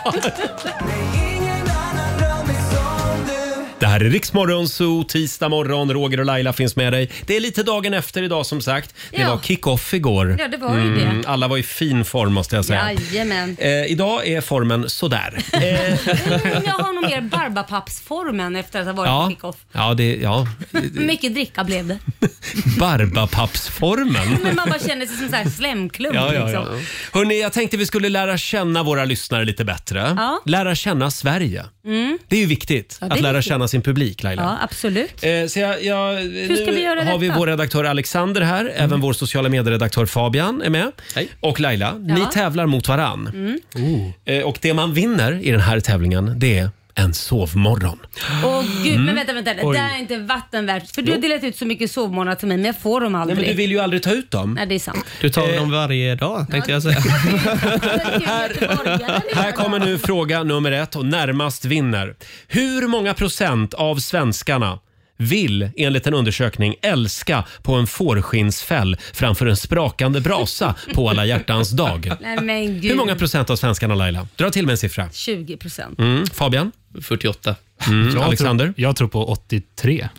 Det här är Riksmorgon Zoo, tisdag morgon. Roger och Laila finns med dig. Det är lite dagen efter idag som sagt. Det
Ja.
var kick-off igår. Mm,
Ja, det var ju det.
Alla var i fin form måste jag säga.
Jajamän.
Eh, idag är formen sådär.
Men [LAUGHS] Jag har nog mer barbapappsformen efter att ha varit på
Ja,
kickoff.
ja, det, ja.
Mycket dricka blev [LAUGHS] det.
Barbapappsformen.
Men man bara känner sig som så här slemklump.
Ja, ja, ja.
liksom.
Hörrni, jag tänkte vi skulle lära känna våra lyssnare lite bättre.
Ja.
Lära känna Sverige.
Mm.
Det är ju viktigt
Ja, det är
att lära
viktigt.
känna sin publik, Laila.
ja absolut.
Eh, Så jag, jag,
Hur ska
nu
vi göra
har vi
detta? Mm.
vår redaktör Alexander här, även vår sociala medieredaktör Fabian är med. Och Laila, ni
Ja.
tävlar mot varann.
Mm.
Eh, Och det man vinner i den här tävlingen, det är en sovmorgon.
Åh gud,
Mm.
men vänta, vänta.
Oj.
Det där är inte vatten värt. För du
Jo.
har delat ut så mycket sovmorgnar till mig, men jag får dem
Nej,
aldrig.
men du vill ju aldrig ta ut dem.
Nej, det är sant.
Du tar dem varje dag tänkte jag säga. [LAUGHS]
Här kommer nu fråga nummer ett och närmast vinner. Hur många procent av svenskarna vill enligt en undersökning älska på en fårskinnsfäll framför en sprakande brasa på alla hjärtans dag?
Nej men gud.
Hur många procent av svenskarna Laila? Dra till med en siffra.
20 procent.
Mm. Fabian?
48.
Mm.
Jag
Alexander?
Jag tror på 83.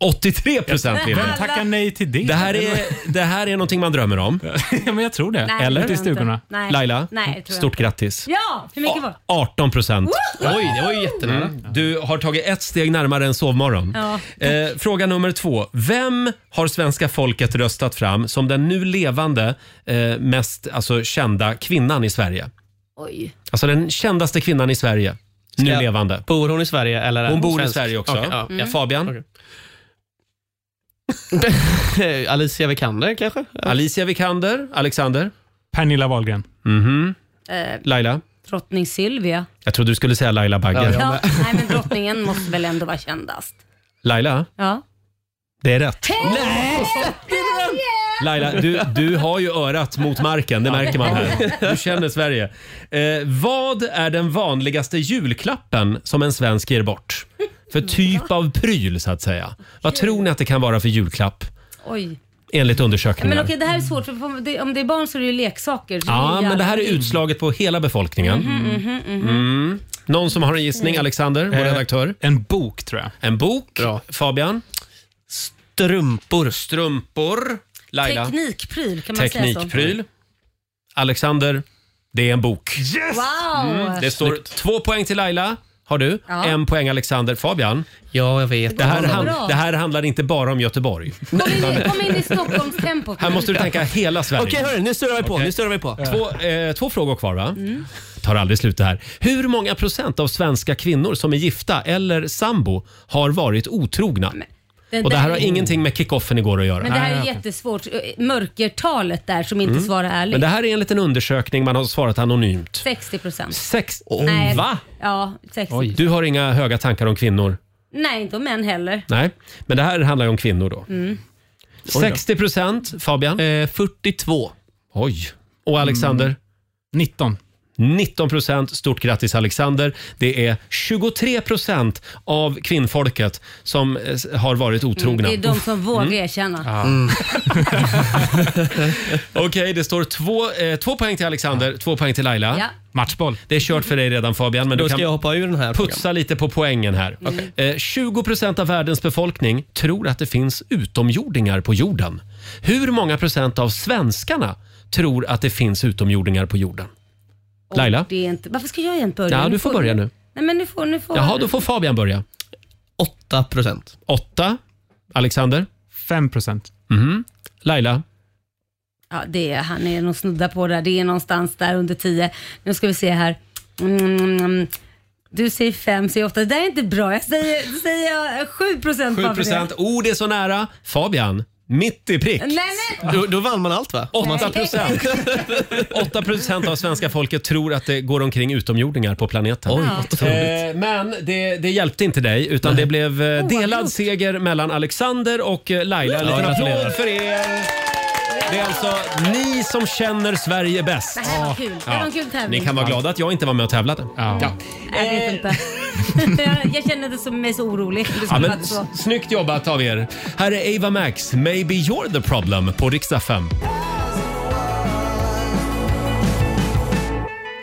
83 procent vill
Vem tackar nej till det?
Det här är, det här är någonting man drömmer om.
[LAUGHS] ja, men jag tror det.
Nej,
Eller?
det tror jag inte. Nej.
Laila,
Nej, det tror jag
stort
inte.
grattis.
Ja, hur mycket var
18 procent.
Woho! Oj, det var ju
jättenära.
Mm.
Du har tagit ett steg närmare en sovmorgon.
Ja.
Eh, fråga nummer två. Vem har svenska folket röstat fram som den nu levande eh, mest alltså, kända kvinnan i Sverige?
Oj.
Alltså den kändaste kvinnan i Sverige. Nu levande.
Bor hon i Sverige? Eller är
Hon bor i
svensk?
Sverige också. Mm.
Okej, ja.
Ja, Fabian?
Eh, [LAUGHS] Alicia Vikander kanske?
Alicia Vikander. Alexander?
Pernilla Wahlgren.
Mhm.
Eh,
Laila?
drottning Silvia.
Jag trodde du skulle säga Laila Bagge.
Ja, nej men drottningen måste väl ändå vara kändast.
Laila,
Ja.
det är rätt.
Nej!
Laila, du, du har ju örat mot marken, det märker man här. Du känner Sverige. Eh, vad är den vanligaste julklappen som en svensk ger bort? För typ av pryl, så att säga. Vad tror ni att det kan vara för julklapp,
Oj.
enligt
Ja, Men
undersökningar?
okej, det här är svårt för om det- om det är barn så är det ju leksaker. så
Ja,
ju
men det här är
alltid-
utslaget på hela befolkningen.
Mhm, mhm, mhm.
Mm. Någon som har en
Mm.
gissning? Alexander, vår
Eh,
redaktör.
En bok, tror jag.
En bok. Fabian?
Strumpor.
Strumpor. Laila?
Teknikpryl, kan man säga så?
Teknikpryl. Alexander, det är en bok.
Yes! Wow!
Mm, det står två poäng till Laila. Har du?
Ja.
En poäng Alexander. Fabian?
Ja, jag vet.
Det här,
Det går
hand,
bra.
det här handlar inte bara om Göteborg.
Kom in, kom in i Stockholmstempot.
Här måste du tänka hela Sverige.
Okej, hörru, nu snurrar vi på, nu snurrar vi på.
Två, eh, två frågor kvar va?
Mm.
Tar aldrig slut det här. Hur många procent av svenska kvinnor som är gifta eller sambo har varit otrogna?
Den
Och det
där
här har
är-
ingenting med kickoffen igår att göra. Ah,
Men det här är jättesvårt. Eh, Mörkertalet där som inte
Mm.
svarar ärligt.
Men det här är en liten undersökning, man har svarat anonymt.
60 procent.
Sex...
Nej.
Va?
Ja, 60.
Du har inga höga tankar om kvinnor?
Nej, inte om män heller.
Nej, men det här handlar ju om kvinnor då.
Mm.
60 procent, Fabian?
42.
Oj. Och Alexander?
19.
19 procent. Stort grattis Alexander. Det är 23 procent av kvinnfolket som eh, har varit otrogna.
Det är de som vågar
Mm.
erkänna.
Mm. [LAUGHS] Okej, det står två, eh, två poäng till Alexander, två poäng till Laila.
Ja.
Matchboll. Det är kört för dig redan Fabian, men
Då
du
ska
kan
jag hoppa ur den här
putsa lite på poängen här.
Okej.
Eh, 20 procent av världens befolkning tror att det finns utomjordingar på jorden. Hur många procent av svenskarna tror att det finns utomjordingar på jorden? Laila?
Det är inte... Varför ska jag igen börja?
Ja,
Nu
du får börja nu.
Nej, men nu får... Nu får...
Jaha, då får Fabian börja. 8 procent. 8. Alexander? 5 procent. Mm. Laila?
Ja, det är, han är nog snudda på där. Det är någonstans där under 10. Nu ska vi se här. Mm, du säger 5, säger 8. Det där är inte bra. Jag säger, säger jag 7 procent.
7 procent. Oh, det är så nära. Fabian, mitt i prick.
Nej, men- Då-
vann man allt va? 8 procent. [LAUGHS] 8 procent av svenska folket tror att det går omkring utomjordingar på planeten.
Oj, vad otroligt.
Eh, men det, det hjälpte inte dig, utan det blev
Oh,
eh, delad seger mellan Alexander och eh, Laila. En
Ja,
liten
gratulerar.
applåd för
[LAUGHS]
er! Det är alltså ni som känner Sverige bäst.
Det här var kul. Det här var en kul tävling.
Ni kan vara glada att jag inte var med och tävlade. Ja.
Nej, Jag vet inte. Eh, [LAUGHS] jag, jag känner det som mig så orolig. Det
Ja,
skulle
men,
varit så.
s- snyggt jobbat av er. Här är Ava Max, Maybe You're the Problem på riksdag 5.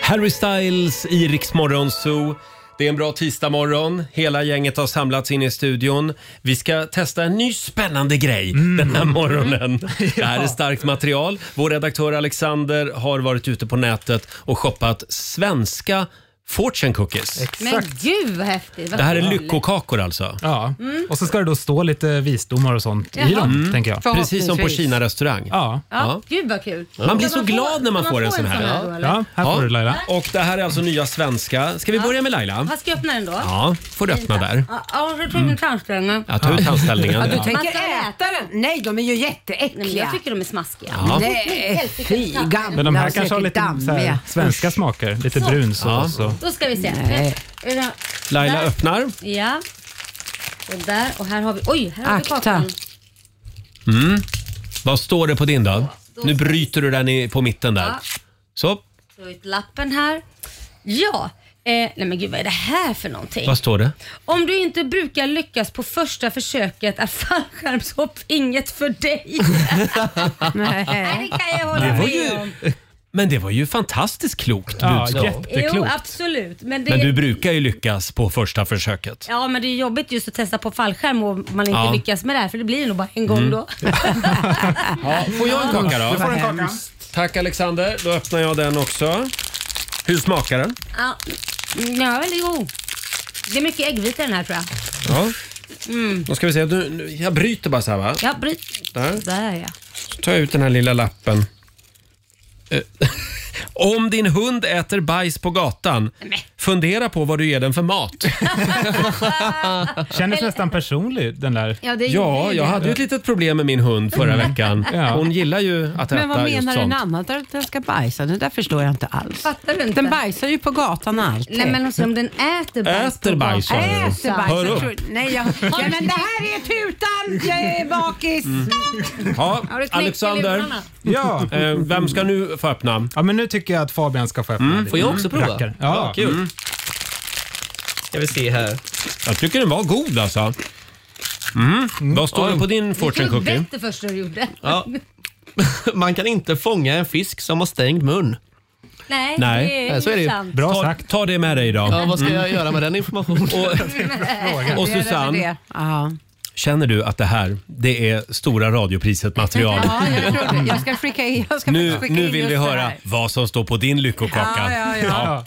Harry Styles i Rix Morgon Zoo. Det är en bra tisdagmorgon. Hela gänget har samlats in i studion. Vi ska testa en ny spännande grej den här morgonen. Det här är starkt material. Vår redaktör Alexander har varit ute på nätet och shoppat svenska fortune cookies.
Men gud vad häftigt. Vad
Det här är
kul.
lyckokakor alltså?
Ja, Mm.
Mm.
och så ska det då stå lite visdomar och sånt i
Jaha.
dem,
Mm.
tänker jag.
Förhoppningsvis.
Precis som på Kina-restaurang.
Ja.
Ja, gud vad kul.
Man blir
Kan
så
få-
glad när man
kan
får en sån här.
då, eller?
Ja, här får du Laila.
Och det här är alltså nya svenska. Ska vi börja med Laila?
Vad ska jag öppna den då?
Ja, får du öppna där. Mm.
Ja, ja jag tar ut tandställningen.
Ja, ta ut
Ja,
tandställningen.
du tänker
Man ska äta den? Nej, de är ju jätteäckliga.
Nej, men jag tycker de är smaskiga.
Ja.
Nej, fy. Gamla
Men de här
och
kanske har
säkert
lite så här,
dammiga.
svenska smaker. Lite brun sås och...
Då ska vi se.
Nej.
Är det-
Laila
där?
öppnar.
Ja. Och där och här har vi... Oj, här har vi
Akta.
kakan.
Mm. Vad står det på din då? Nu bryter du den i, på mitten där.
Ja.
Så,
Så har vi lappen här. Ja. Eh, nej men gud vad är det här för någonting?
vad står det?
Om du inte brukar lyckas på första försöket är fallskärmshopp inget för dig. nej. det kan jag hålla
Det var
med
ju-
om.
Men det var ju fantastiskt klokt
Ja,
budskap.
Jo, absolut. Men, det,
Men du brukar ju lyckas på första försöket.
Ja, men det är jobbigt just att testa på fallskärm om man inte
Ja.
lyckas med det här för det blir nog bara en gång
Mm.
då.
Ja, får jag en kaka då?
Du får en kaka.
Hemskt. Tack Alexander, då öppnar jag den också. Hur smakar den?
Ja, mm, ja väldigt god. Det är mycket äggvita i den här tror jag.
Ja.
Mm.
Då ska vi se, nu, nu- jag bryter bara så här va?
Ja, bryt.
Där.
Där ja.
Så tar jag ut den här lilla lappen. Eh, [LAUGHS] Om din hund äter bajs på gatan, fundera på vad du ger den för mat.
Kändes nästan personlig den där.
Ja, det är ju- det
ja,
är
jag
det.
hade ju ett litet problem med min hund förra veckan.
[LAUGHS] Ja.
Hon gillar ju att äta
Men vad
just
menar den
sånt.
annat att den ska bajsa? Det där förstår jag inte alls.
Fattar du inte?
Den bajsar ju på gatan alltid.
Nej men också om den äter bajs.
Äter bajs, sa du.
Äter bajs.
Hör
jag
upp.
tror- Nej, jag, [LAUGHS] ja, men det här är tutan! Jag är bakis!
Mm.
[LAUGHS]
Ja,
Har du knäckt
Alexander.
lurarna?
Ja.
[LAUGHS] Eh, Vem ska nu få öppna?
Ja, men nu tycker jag att Fabian ska få öppna
Mm,
lite.
får jag också prova?
Rackare. Ja, Mm.
Ja, kul.
Ska vi se här.
Jag tycker den var god alltså. Mm. Vad står
Oj.
det på din fortune
Det
cookie?
var bättre först när du gjorde.
Ja. [LAUGHS] Man kan inte fånga en fisk som har stängd mun.
Nej, det
Nej,
är,
så är det ju.
sant.
ta, ta det med dig idag.
Ja, vad ska jag
Mm.
göra med den informationen?
Och Susanne, [LAUGHS] känner du att det här det är stora radiopriset material?
Ja, jag tror det. Jag ska skicka in, jag ska
Nu,
faktiskt skicka
nu
in
vill
just
vi
det
höra
här.
vad som står på din lyckokaka.
Ja, ja, ja.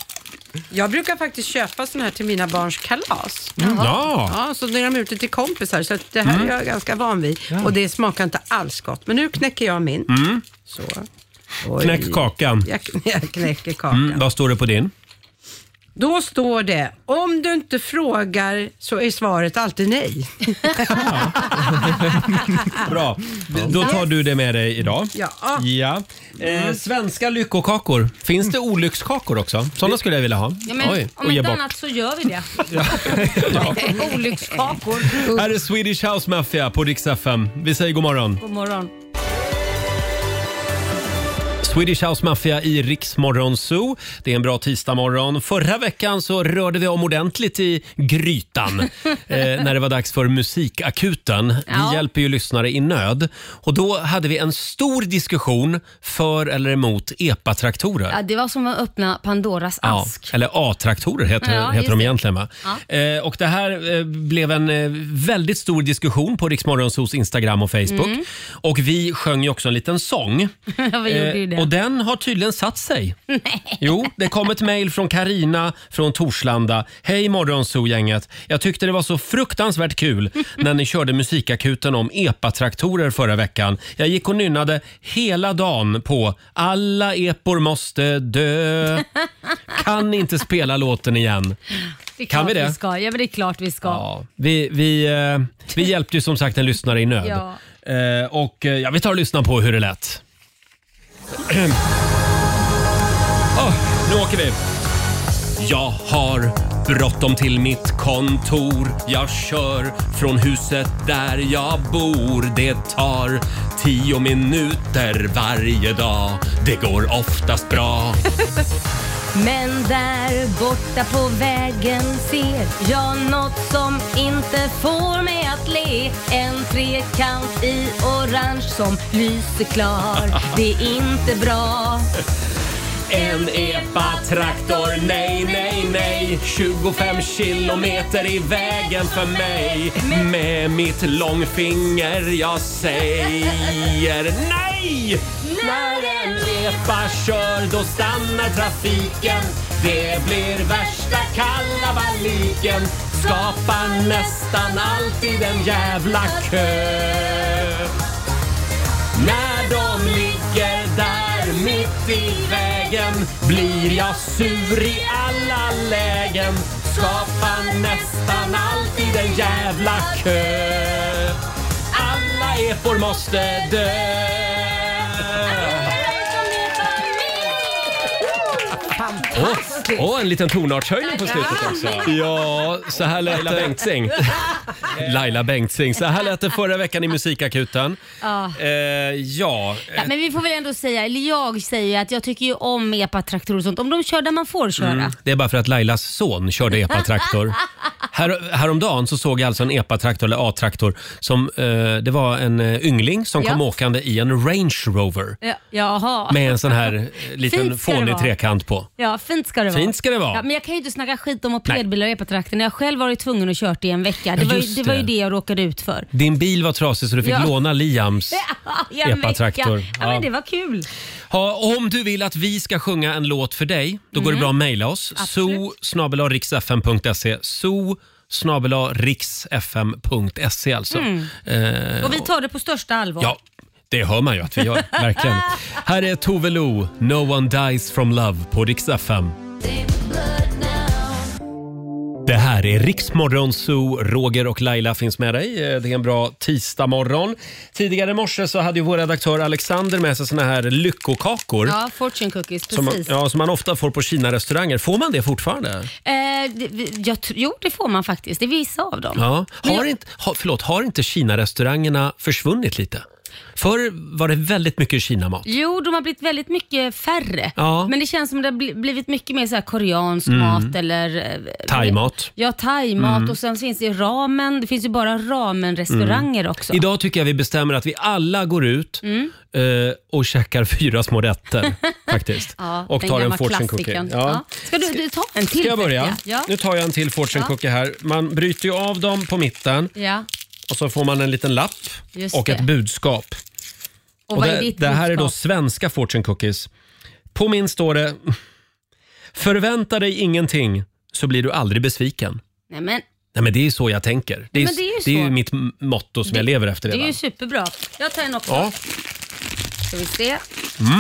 Jag brukar faktiskt köpa såna här till mina barns kalas.
Mm. Ja.
Ja, så när de är ute till kompisar, så att det här
Mm.
är jag ganska van vid. Och det smakar inte alls gott. Men nu knäcker jag min.
Mm.
Så. [LAUGHS]
Knäck kakan.
Jag, jag knäcker kakan.
Mm, vad står det
[LAUGHS]
på din?
Då står det, om du inte frågar så är svaret alltid
[LAUGHS]
nej.
Bra, då tar du det med dig idag.
Ja. Mm.
Ja. Eh, svenska lyckokakor. Finns det olyckskakor också? Sådana skulle jag vilja ha.
Ja, men, om
Och ge
inte
bort.
annat så gör vi
[LAUGHS]
det. [LAUGHS] Olyckskakor.
Här är Swedish House Mafia på Rix FM. Vi säger god morgon.
God morgon.
Swedish House Mafia i Riksmorgon Zoo. Det är en bra tisdagmorgon. Förra veckan så rörde vi om ordentligt i
[LAUGHS]
grytan eh, när det var dags för Musikakuten.
Ja.
Vi hjälper ju lyssnare i nöd. Och då hade vi en stor diskussion för eller emot epatraktorer.
Ja, det var som att öppna Pandoras
Ja,
ask.
eller A-traktorer heter,
Ja, just
heter de
det.
egentligen va?
Ja.
Eh, och det här eh, blev en eh, väldigt stor diskussion på Riksmorgonsos Instagram och Facebook.
Mm.
Och vi sjöng ju också en liten sång.
[LAUGHS] Ja, vi gjorde ju det.
Eh, och den har tydligen satt sig.
Nej.
Jo, det kom ett mejl från Karina från Torslanda. Hej Morgonzoo-gänget. Jag tyckte det var så fruktansvärt kul när ni körde musikakuten om epatraktorer förra veckan. Jag gick och nynnade hela dagen på “Alla epor måste dö”. Kan inte spela låten igen.
Det är
Kan
klart
vi det?
Vi ska. Ja, men det är klart vi ska.
Vi, vi, eh, vi hjälpte ju som sagt en lyssnare i nöd.
Ja.
Eh, och eh, ja, vi tar och lyssnar på hur det lät. [CLEARS THROAT] oh, nu åker vi! Jag har bråttom till mitt kontor. Jag kör från huset där jag bor. Det tar tio minuter varje dag. Det går oftast bra.
[LAUGHS] Men där borta på vägen ser jag något som inte får mig att le. En trekant i orange som lyser
[LAUGHS]
klar. Det är inte bra.
En epa-traktor, nej, nej, nej 25 kilometer i vägen för mig Med mitt långfinger jag säger nej! När en epa kör då stannar trafiken Det blir värsta kalabaliken Skapar nästan alltid en jävla kö när de ligger där mitt i vägen blir jag sur i alla lägen. Skapar nästan alltid en jävla kö. Alla epor måste dö. Åh, åh, en liten tonartshöjning på slutet också. Ja, så här lät Laila Bengtzing. [LAUGHS] Laila Bengtzing. Så här lät det förra veckan i Musikakuten.
Ja.
Eh, ja,
Ja, men vi får väl ändå säga, eller jag säger att jag tycker ju om epatraktorer och sånt. Om de kör där man får köra.
Mm, det är bara för att Lailas son körde epatraktor. Här, häromdagen så såg jag alltså en epatraktor, eller A-traktor, som eh, det var en eh, yngling som
Ja.
kom åkande i en Range Rover
Ja, jaha.
med en sån här eh, liten
Fint ska det
fånig
vara.
trekant på.
Ja, fint ska det vara.
Fint ska det vara.
Ja, men jag kan ju inte snacka skit om mopedbilar och epatraktorer. Jag har själv varit tvungen att kört i en vecka. Det,
Ja,
var, ju,
just
det var ju
det.
det jag råkade ut för.
Din bil var trasig så du fick
Ja. [LAUGHS]
låna Liams.
I en
Epatraktor.
vecka. Ja,
Ja.
men det var kul.
Ha, om du vill att vi ska sjunga en låt för dig, då går det
Mm.
bra att mejla oss. zoo riksfm.se. zoo riksfm.se alltså.
Mm.
Eh,
Och vi tar det på största allvar.
Ja, det hör man ju att vi
[LAUGHS]
gör. Verkligen. Här är Tove Lo, No One Dies From Love på Rix FM. Det här är Riksmorgon Zoo. Roger och Laila finns med dig. Eh, Det är en bra tisdagmorgon. Tidigare i morse så hade ju vår redaktör Alexander med sig såna här lyckokakor.
Ja, fortune cookies.
Som man,
Precis.
ja, som man ofta får på Kina-restauranger. Får man det fortfarande?
Eh, det, vi- jag, tr- jo, det får man faktiskt. Det är vissa av dem.
Ja.
Men
Har,
jag-
inte, har, förlåt, har inte Kina-restaurangerna försvunnit lite? Förr var det väldigt mycket Kina-mat.
Jo, de har blivit väldigt mycket färre.
Ja.
Men det känns som det har bli- blivit mycket mer så här koreansk
Mm.
mat eller... eh,
Thaimat.
Ja, thaimat
Mm.
och sen finns det ju ramen. Det finns ju bara ramen-restauranger
Mm.
också.
Idag tycker jag vi bestämmer att vi alla går ut
Mm.
eh, och käkar fyra
[LAUGHS]
små rätter faktiskt.
Ja,
och
den
tar en
gamla
fortune cookie.
klassikern.
Ja.
Ska du, du ta en till?
Ska jag
först,
börja?
Ja.
Nu tar jag en till fortune
Ja.
cookie här. Man bryter ju av dem på mitten
ja.
och så får man en liten lapp
Just
och
det.
ett budskap.
Och vad
det,
är ditt
det här är då
budskap?
svenska fortune cookies. På min står det [LAUGHS] “Förvänta dig ingenting så blir du aldrig besviken”.
Nej, men,
Nej, men det är ju så jag tänker. Det är,
Men det är ju
det är
så.
ju mitt m- motto som jag lever efter.
det är
redan.
ju superbra. Jag tar en också.
Ja.
Ska vi se.
Mm.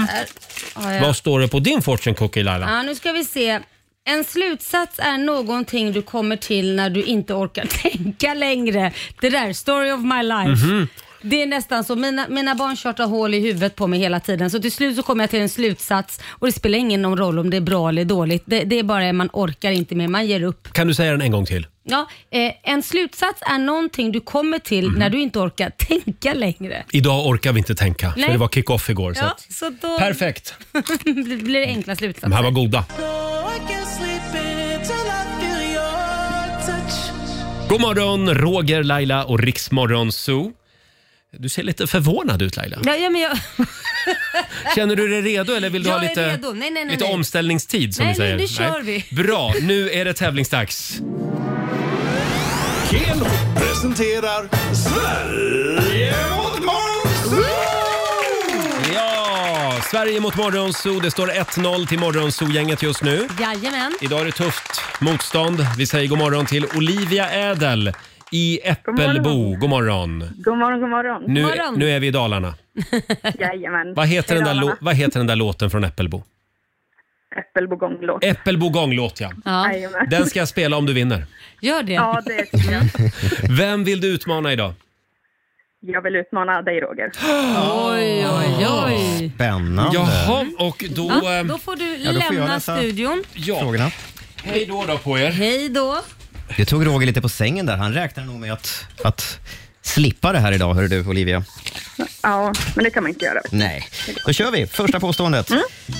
Där har jag.
Vad står det på din fortune cookie Laila?
Eh. Ja, nu ska vi se. En slutsats är någonting [LAUGHS] du kommer till när du inte orkar tänka längre. Det där, story of my life.
Mhm.
Det är nästan så. Mina, mina barn tjatar hål i huvudet på mig hela tiden. Så till slut så kommer jag till en slutsats och det spelar ingen roll om det är bra eller dåligt. Det, det är bara man orkar inte mer, man ger upp.
Kan du säga den en gång till?
Ja, eh, en slutsats är någonting du kommer till
Mhm.
när du inte orkar [LAUGHS] tänka längre.
Idag orkar vi inte tänka,
Nej.
för det var kick-off igår. Så
Ja,
att,
så då
perfekt.
blir [LAUGHS] det enkla slutsatser.
De här var goda. God morgon, Roger, Laila och Riksmorgon Zoo. Du ser lite förvånad
[LAUGHS]
ut Laila.
Ja, ja, men jag,
Känner du dig redo eller vill du
Jag
ha
är
lite,
redo. Nej, nej, nej,
lite
nej.
omställningstid som
Nej,
vi säger?
nej, nu kör vi. [LAUGHS]
Bra, nu är det tävlingsdags.
Keno presenterar Sverige mot Måns!
Ja, Sverige mot Morgonzoo. Det står 1-0 till Morgonzoo-gänget just nu.
jajamän.
Mm. Idag är det tufft motstånd. Vi säger god morgon till Olivia Ädel i Äppelbo. God morgon.
God morgon, god morgon.
Nu,
[LAUGHS]
nu är vi i Dalarna.
Jajamän.
Vad heter, den där,
Dalarna.
lå- vad heter den där låten från Äppelbo?
Äppelbo gånglåt.
Äppelbo gånglåt, ja.
Ja.
Den ska jag spela om du vinner.
Gör det.
Ja, det tycker jag.
Vem vill du utmana idag?
Jag vill utmana dig, Roger.
[GASPS] Oj, oj, oj.
Spännande.
Jaha, och Ah. då...
Ja,
ehm,
då får du
Ja, då får jag
lämna
läsa.
studion.
Frågorna.
Hej då då på er.
Hej då.
Du tog Roger lite på sängen där. Han räknar nog med att, att slippa det här idag, hör du Olivia.
Ja, men det kan man inte göra.
Nej. Då kör vi. Första påståendet.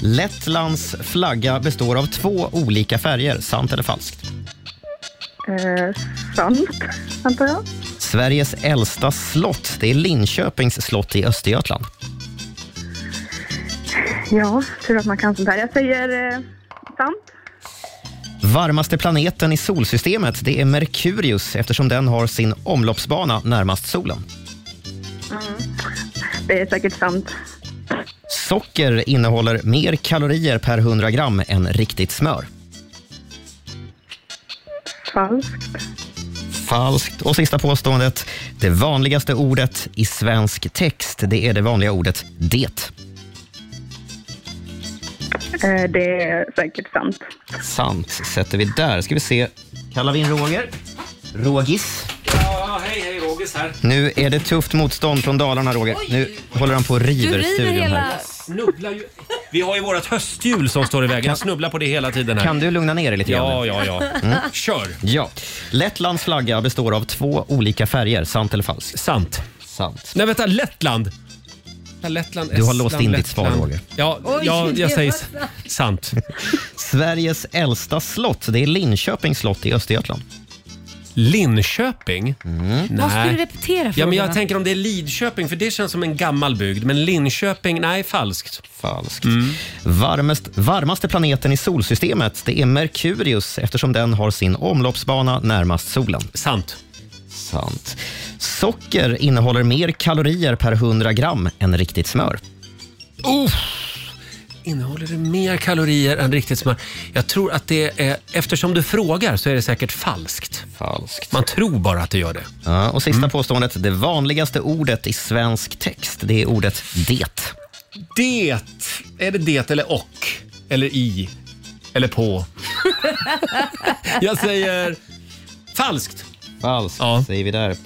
Lettlands flagga består av två olika färger. Sant eller falskt?
Eh, sant, antar jag.
Sveriges äldsta slott, det är Linköpings slott i Östergötland.
Ja, tur att man kan sånt här. Jag säger eh, sant.
Varmaste planeten i solsystemet, det är Merkurius eftersom den har sin omloppsbana närmast solen.
Mm. Det är säkert sant.
Socker innehåller mer kalorier per 100 gram än riktigt smör.
Falskt.
Falskt. Och sista påståendet. Det vanligaste ordet i svensk text, det är det vanliga ordet det.
Eh, det är säkert sant.
Sant sätter vi där. Ska vi se. Kallar vi in Roger? Rogis.
Ja, hej, hej, Rogis här.
Nu är det tufft motstånd från Dalarna, Roger. Nu håller han på och river studion här.
[LAUGHS]
Snubblar ju... Vi har ju vårt höstjul som står i vägen. Jag snubblar på det hela tiden här.
Kan du lugna ner dig lite grann?
Ja,
nu?
ja, ja.
Mm.
Kör!
Ja. Lettlands flagga består av två olika färger. Sant eller falskt?
Sant.
Sant.
Nej, vänta. Lettland. Ja, Lettland,
Du har låst
Estland,
in ditt svar,
Lettland.
Roger.
Ja,
Oj,
ja
det var
jag säger s-
sant.
sant.
[LAUGHS] Sveriges äldsta slott, det är Linköpings slott i Östergötland. Mm.
Linköping?
Vad ska du repetera
Ja, men jag
frågorna?
tänker om det är Lidköping, för det känns som en gammal bygd. Men Linköping, nej, falskt.
Falskt. Mm. Varmest, varmaste planeten i solsystemet, det är Merkurius eftersom den har sin omloppsbana närmast solen.
Sant.
Sant. Socker innehåller mer kalorier per 100 gram än riktigt smör.
Uff. Innehåller det mer kalorier än riktigt smör? Jag tror att det är... Eftersom du frågar så är det säkert falskt.
Falskt.
Man tror bara att det gör det.
Ja, och sista påståendet, det vanligaste ordet i svensk text, det är ordet det.
Det. Är det det eller och? Eller i? Eller på? Jag säger falskt.
Falskt, säger vi där.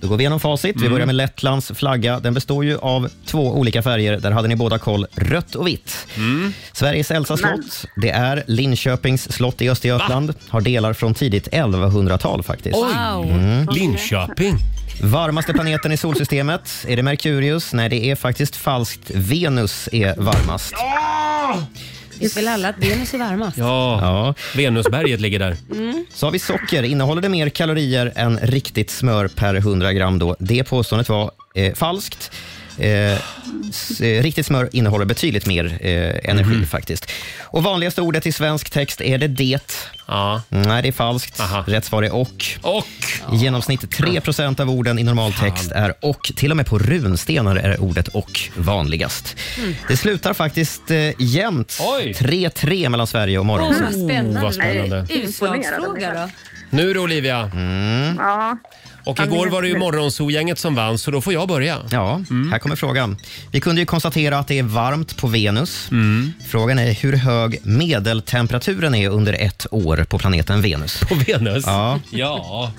Då går vi igenom facit.
Mm.
Vi börjar med Lettlands flagga. Den består ju av två olika färger. Där hade ni båda koll. Rött och vitt.
Mm.
Sveriges äldsta slott, det är Linköpings slott i Östergötland. Har delar från tidigt 1100-tal faktiskt.
Oj!
Mm.
Linköping.
Varmaste planeten i solsystemet, är det Merkurius? Nej, det är faktiskt falskt. Venus är varmast.
Vi vill alla att Venus är varmast.
Ja, Venusberget ligger där.
Så har vi socker. Innehåller det mer kalorier än riktigt smör per 100 gram? Då? Det påståendet var eh, falskt. Eh, s- eh, riktigt smör innehåller betydligt mer eh, energi faktiskt. Och vanligaste ordet i svensk text, är det det?
Ja.
Nej, det är falskt. Rätt svar är och.
Och.
I genomsnitt 3 av orden i normal text är och. Till och med på runstenar är ordet och vanligast. Det slutar faktiskt eh, jämnt. 3-3 mellan Sverige och
Åh, vad
Morgonzoo.
spännande.
vad spännande.
Utslagsfråga då.
Nu då Olivia.
Mm.
Ja.
Och igår var det ju Morgonzoo-gänget som vann, så då får jag börja. Mm.
Ja, här kommer frågan. Vi kunde ju konstatera att det är varmt på Venus.
Mm.
Frågan är hur hög medeltemperaturen är under ett år på planeten Venus.
På Venus?
Ja.
Ja.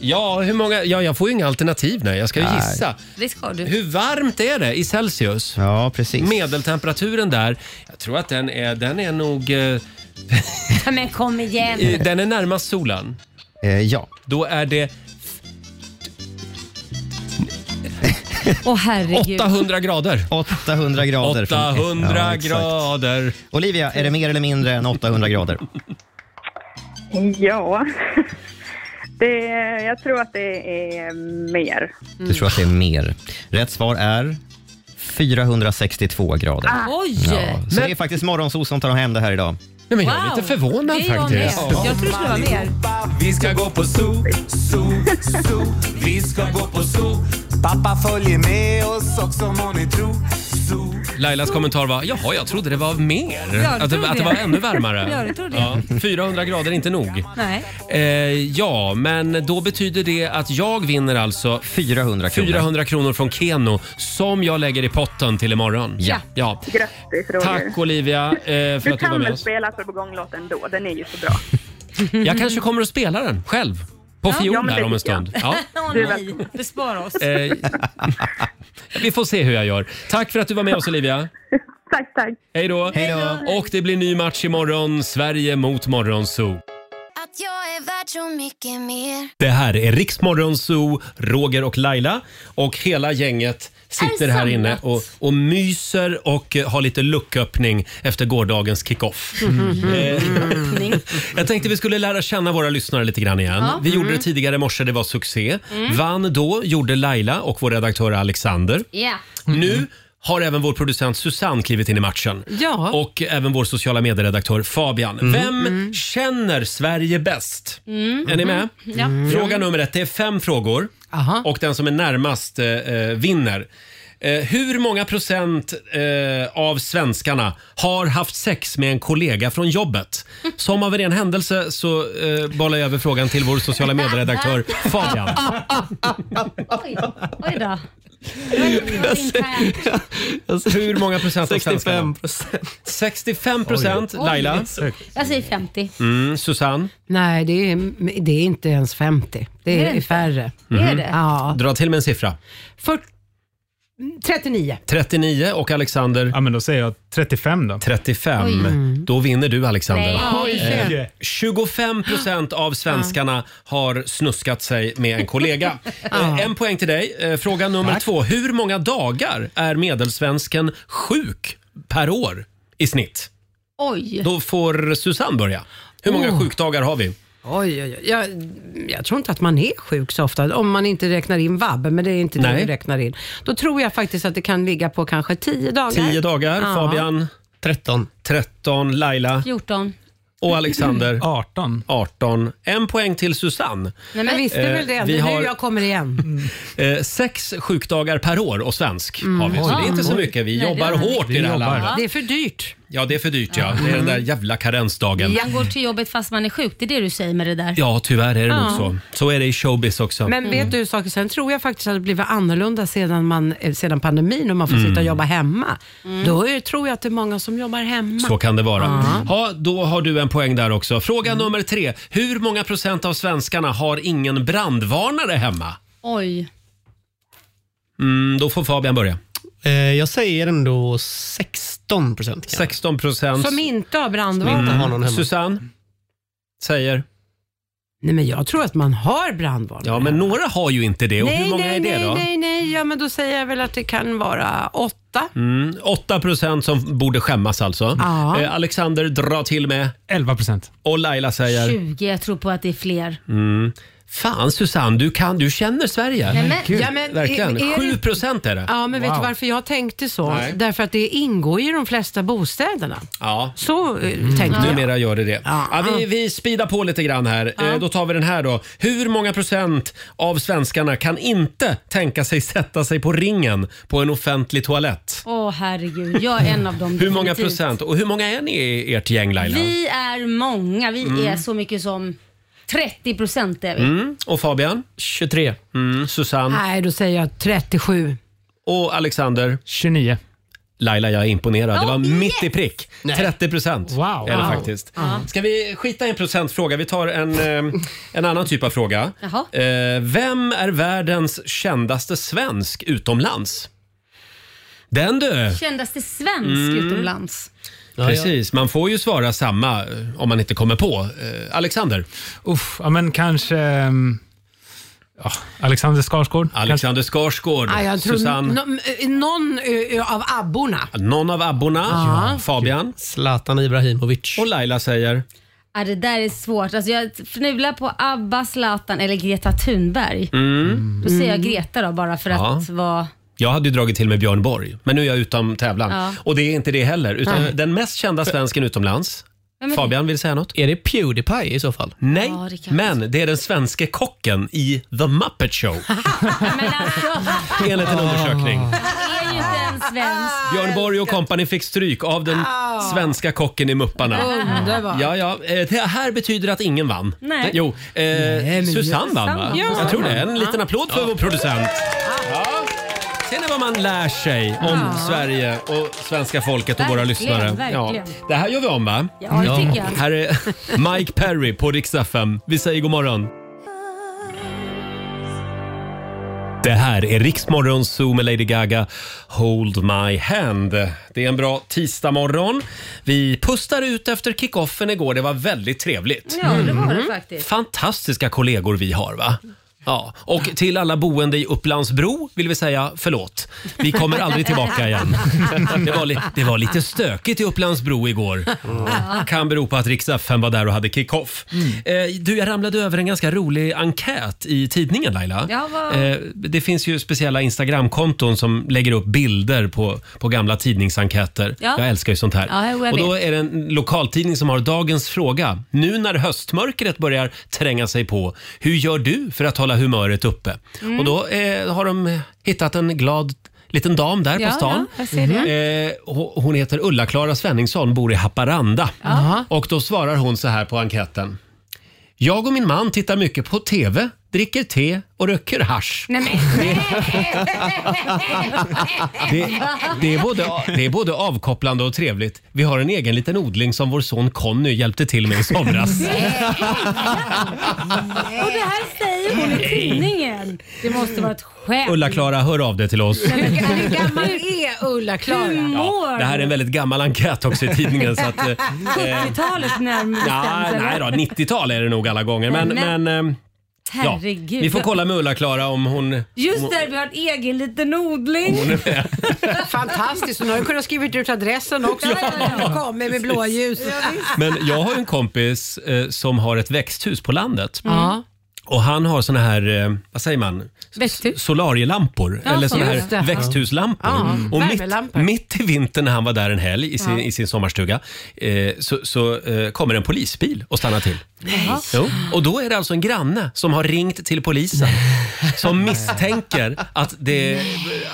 Ja, hur många? Ja, jag får ju inga alternativ nej. Jag ska ju
Nej.
gissa.
Det ska du.
Hur varmt är det i Celsius?
Ja, precis.
Medeltemperaturen där, jag tror att den är, den är nog... eh,
[LAUGHS] Ja, Men kom igen.
i- Den är närmast solen.
ja.
Då är det
Åh herregud.
800 grader.
800 grader.
800 grader.
Olivia, är det mer eller mindre än 800 grader?
Ja, det, jag tror att det är mer.
Mm.
Du tror att det är mer. Rätt svar är 462 grader.
Ah. Oj!
Ja, så det är faktiskt Morgonzoo som tar hem det här idag.
Nej, men jag är lite förvånad
Det är jag
faktiskt.
med. Jag tror det skulle vara mer.
Vi ska gå på zoo, zoo, zoo. Vi ska gå på zoo. Pappa följer med oss också må ni tro.
Lailas kommentar var jaha, jag trodde det var mer.
jag
att,
trodde
det, att det
det.
var ännu varmare.
Ja, jag trodde
Ja, 400 grader är inte nog.
Nej.
Eh, ja, men då betyder det att jag vinner alltså
400
kronor, 400 kronor från Keno som jag lägger i potten till imorgon.
Ja.
ja.
Grattis Roger.
Tack Olivia eh, för
Du
att du var
kan
med
väl
oss.
spela För på gång-låten då? Den är ju så bra.
Jag kanske kommer att spela den själv på
Ja,
fiol
ja, men
här
det
om en
tycker jag.
stund. Ja.
[LAUGHS] Åh
Du är
nej, bespara oss.
Eh, [LAUGHS] vi får se hur jag gör. Tack för att du var med oss Olivia.
Tack, tack.
Hej då.
Hej då.
Och det blir ny match imorgon. Sverige mot Morgonzoo.
Att jag är värd så mycket mer.
Det här är Riksmorgon Zoo, Roger och Laila. Och hela gänget sitter här inne och, och myser och eh, har lite lucköppning efter gårdagens kickoff. Eh, [LAUGHS] Jag tänkte vi skulle lära känna våra lyssnare lite grann igen.
Ja.
Vi gjorde
Mm.
det tidigare i morse, det var succé.
Mm.
Vann då, gjorde Laila och vår redaktör Alexander.
[LAUGHS] Ja.
Nu har även vår producent Susanne klivit in i matchen.
Ja.
Och även vår sociala medieredaktör Fabian. Vem känner Sverige bäst?
Mm.
Är ni med?
Ja.
Fråga nummer ett. Det är fem frågor och den som är närmast eh, eh, vinner. Eh, hur många procent eh, av svenskarna har haft sex med en kollega från jobbet? Som av en ren händelse så eh, bollar jag över frågan till vår
[LAUGHS]
[LAUGHS]
sociala medieredaktör Fabian.
Oj, oj då.
Hur många procent av
65
svenskarna? 65 procent.
Oj.
Laila?
Oj.
Jag säger 50.
Mm, Susanne?
Nej, det är, det är inte ens 50. Det
Är
är,
det inte?
färre. Mm.
Mhm.
Ja.
Dra till med en siffra.
39.
39 och Alexander? Ja, men då säger jag 35 då. 35.
Oj. Mm.
Då vinner du Alexander.
Nej. Oj.
Eh, 25 procent av svenskarna har snuskat sig med
[LAUGHS]
en kollega. Eh, En poäng till dig. Eh, Fråga nummer två. Hur många dagar är medelsvensken sjuk per år i snitt?
Oj.
Då får Susanne börja. Hur många
Oh.
sjukdagar har vi?
Oj, oj, oj. Jag, jag tror inte att man är sjuk så ofta, om man inte räknar in vab, men det är inte
Nej.
det du räknar in. Då tror jag faktiskt att det kan ligga på kanske 10 dagar.
10 dagar.
Ja.
Fabian? 13. 13. Laila?
14.
[CLEARS THROAT]
Och Alexander? 18. 18. En poäng till Susanne.
Nej, men jag visste väl det,
Eh,
det
vi
är
har-
nu jag kommer igen.
Eh, sex sjukdagar per år och svensk
Mm.
har vi. Så
Oj.
det är inte så mycket. Vi
Nej, det
jobbar
är det.
hårt
Vi
i det här
jobbar.
landet.
Det är för dyrt.
Ja, det är för dyrt ja. Det är
Mm.
den där jävla karensdagen.
Man går till jobbet fast man är sjuk. Det är det du säger med det där.
Ja, tyvärr är det nog
Ja.
så. Så är det i showbiz också.
Men vet du saker, sen tror jag faktiskt att det blivit annorlunda sedan, man, eh, sedan pandemin och man får
Mm.
sitta och jobba hemma. Då är, tror jag att det är många som jobbar hemma.
Så kan det vara.
Ja. Mm.
Ja, då har du en poäng där också. Fråga nummer tre. Hur många procent av svenskarna har ingen brandvarnare hemma?
Oj.
Mm, då får Fabian börja.
Eh, Jag säger ändå 16 procent.
16 procent.
Som inte har brandvarnare.
Susanne säger?
Nej, men jag tror att man har brandvarnare.
Ja, men några har ju inte det. Och
nej,
hur många
nej,
är det
nej,
då?
nej, nej, ja men då säger jag väl att det kan vara åtta.
Mm, 8 procent som borde skämmas alltså.
Ja.
Eh, Alexander drar till med? 11 procent. Och Laila säger?
20. Jag tror på att det är fler.
Mm. Fan Susanne, du, kan, du känner Sverige.
Nej, men- Gud. ja, men
Verkligen.
är- är det-
7 procent är det.
Ja, men vet du varför jag tänkte så?
Nej.
Därför att det ingår ju i de flesta bostäderna.
Ja.
Så eh, tänkte jag.
Mm. Numera gör det det. Ja, vi, vi speedar på lite grann här. Eh, Då tar vi den här då. Hur många procent av svenskarna kan inte tänka sig sätta sig på ringen på en offentlig toalett?
Åh herregud. Jag är en av dem.
Hur många
definitivt.
procent? Och hur många är ni i ert gäng Laila?
Vi är många. Vi
Mm.
är så mycket som 30 procent är vi.
Mm. Och Fabian? 23. Mm. Susanne?
Nej, då säger jag 37.
Och Alexander? 29. Laila, jag är imponerad. Det var mitt i prick.
Nej.
30 procent
Wow.
är det
Wow.
faktiskt.
Ja.
Mm.
Ska vi skita i en procentfråga? Vi tar en, eh, en annan typ av fråga.
Jaha.
Eh, Vem är världens kändaste svensk utomlands? Den du!
Kändas det svensk
Mm.
utomlands?
Precis, man får ju svara samma eh, om man inte kommer på. Eh, Alexander?
Uff, ja, men kanske... ehm, ja, Alexander Skarsgård?
Alexander Skarsgård,
Ah, jag tror
Susanne?
nå- eh, någon eh, eh, av abborna.
Någon av abborna?
Ja.
Fabian? Ah. Zlatan Ibrahimovic. Och Laila säger?
Ja, det där är svårt. Alltså, jag fnular på ABBA, Zlatan eller Greta Thunberg.
Mm.
Då säger jag Greta då bara för
Ja.
att vara...
Jag hade ju dragit till med Björn Borg, men nu är jag utom tävlan.
Ja.
Och det är inte det heller, utan
Nej.
den mest kända svensken utomlands.
Vem är det?
Fabian vill säga något? Är det Pewdiepie i så fall? Nej,
Ja, det kan-
men det är den svenske kocken i The
[LAUGHS]
Muppet Show, enligt en undersökning.
Det är ju inte en svensk.
Björn Borg och kompani fick stryk av den svenska kocken i Mupparna.
Ah. Underbart.
Ja, ja. eh, Det här betyder att ingen vann.
Nej.
Jo, eh,
men
Susanne vann va?
Susanne. Ja.
Jag tror det. En
Ja.
liten applåd för
Ja.
vår producent. Ja. Ser ni vad man lär sig om
Ja.
Sverige och svenska folket och våra
Verkligen,
lyssnare?
verkligen.
Det här gör vi om va?
Ja, det tycker jag.
Här är [LAUGHS] Mike Perry på Rix FM. Vi säger god morgon. Det här är Riksmorgon Zoo med Lady Gaga, Hold My Hand. Det är en bra tisdagmorgon. Vi pustar ut efter kickoffen igår. Det var väldigt trevligt.
Ja, det var
Mm.
det faktiskt.
Fantastiska kollegor vi har, va? Ja, och till alla boende i Upplandsbro vill vi säga förlåt. Vi kommer aldrig tillbaka igen. Det var, li- det var lite stökigt i Upplandsbro igår. Kan bero på att riks FM var där och hade kick-off.
Mm.
Eh, Du, jag ramlade över en ganska rolig enkät i tidningen Laila.
Ja, vad-
Eh, Det finns ju speciella Instagramkonton som lägger upp bilder på, på gamla tidningsenkäter.
Ja.
Jag älskar ju sånt här.
Ja, jag
och då
vet.
är det en lokaltidning som har dagens fråga. Nu när höstmörkret börjar tränga sig på, hur gör du för att hålla humöret uppe?
Mm.
Och då eh, har de hittat en glad liten dam där
Ja,
på stan.
ja, jag ser det.
Eh, ho- hon heter Ulla-Klara Svenningsson, bor i Haparanda.
Ja.
Och då svarar hon så här på enkäten. Jag och min man tittar mycket på TV, dricker te och röker hasch.
Nej, men.
Det, det, är både, det är både avkopplande och trevligt. Vi har en egen liten odling som vår son Conny hjälpte till med i somras.
[LAUGHS] Och det här säger hon i tidningen. Det måste vara ett skämt.
Ulla-Klara, hör av dig till oss.
Hur gammal är Ulla-Klara?
Humor.
Det här är en väldigt gammal enkät också i tidningen. Så
[LAUGHS]
att, eh, eh,
70-talet närmast
ja,
eller?
nej då, 90-tal är det nog alla gånger. Men,
Nej,
men, eh, ja,
Herregud.
vi får kolla med Ulla-Klara om hon...
Just
om-
där vi har e- en egen liten odling.
om hon är med.
[LAUGHS] Fantastiskt, hon har ju kunnat skrivit ut adressen också. Kommer med blåljus.
Men jag har ju en kompis eh, som har ett växthus på landet.
Mm.
Ja.
Och han har såna här, eh, vad säger man?
Växthus.
solarielampor
Ja,
eller såna
just det.
här växthuslampor.
Ja,
och mitt,
värmelampor.
mitt i vintern när han var där en helg i sin,
Ja.
i sin sommarstuga eh, så, så eh, kommer en polisbil och stannar till.
Nej.
Jo. Och då är det alltså en granne som har ringt till polisen som misstänker att det,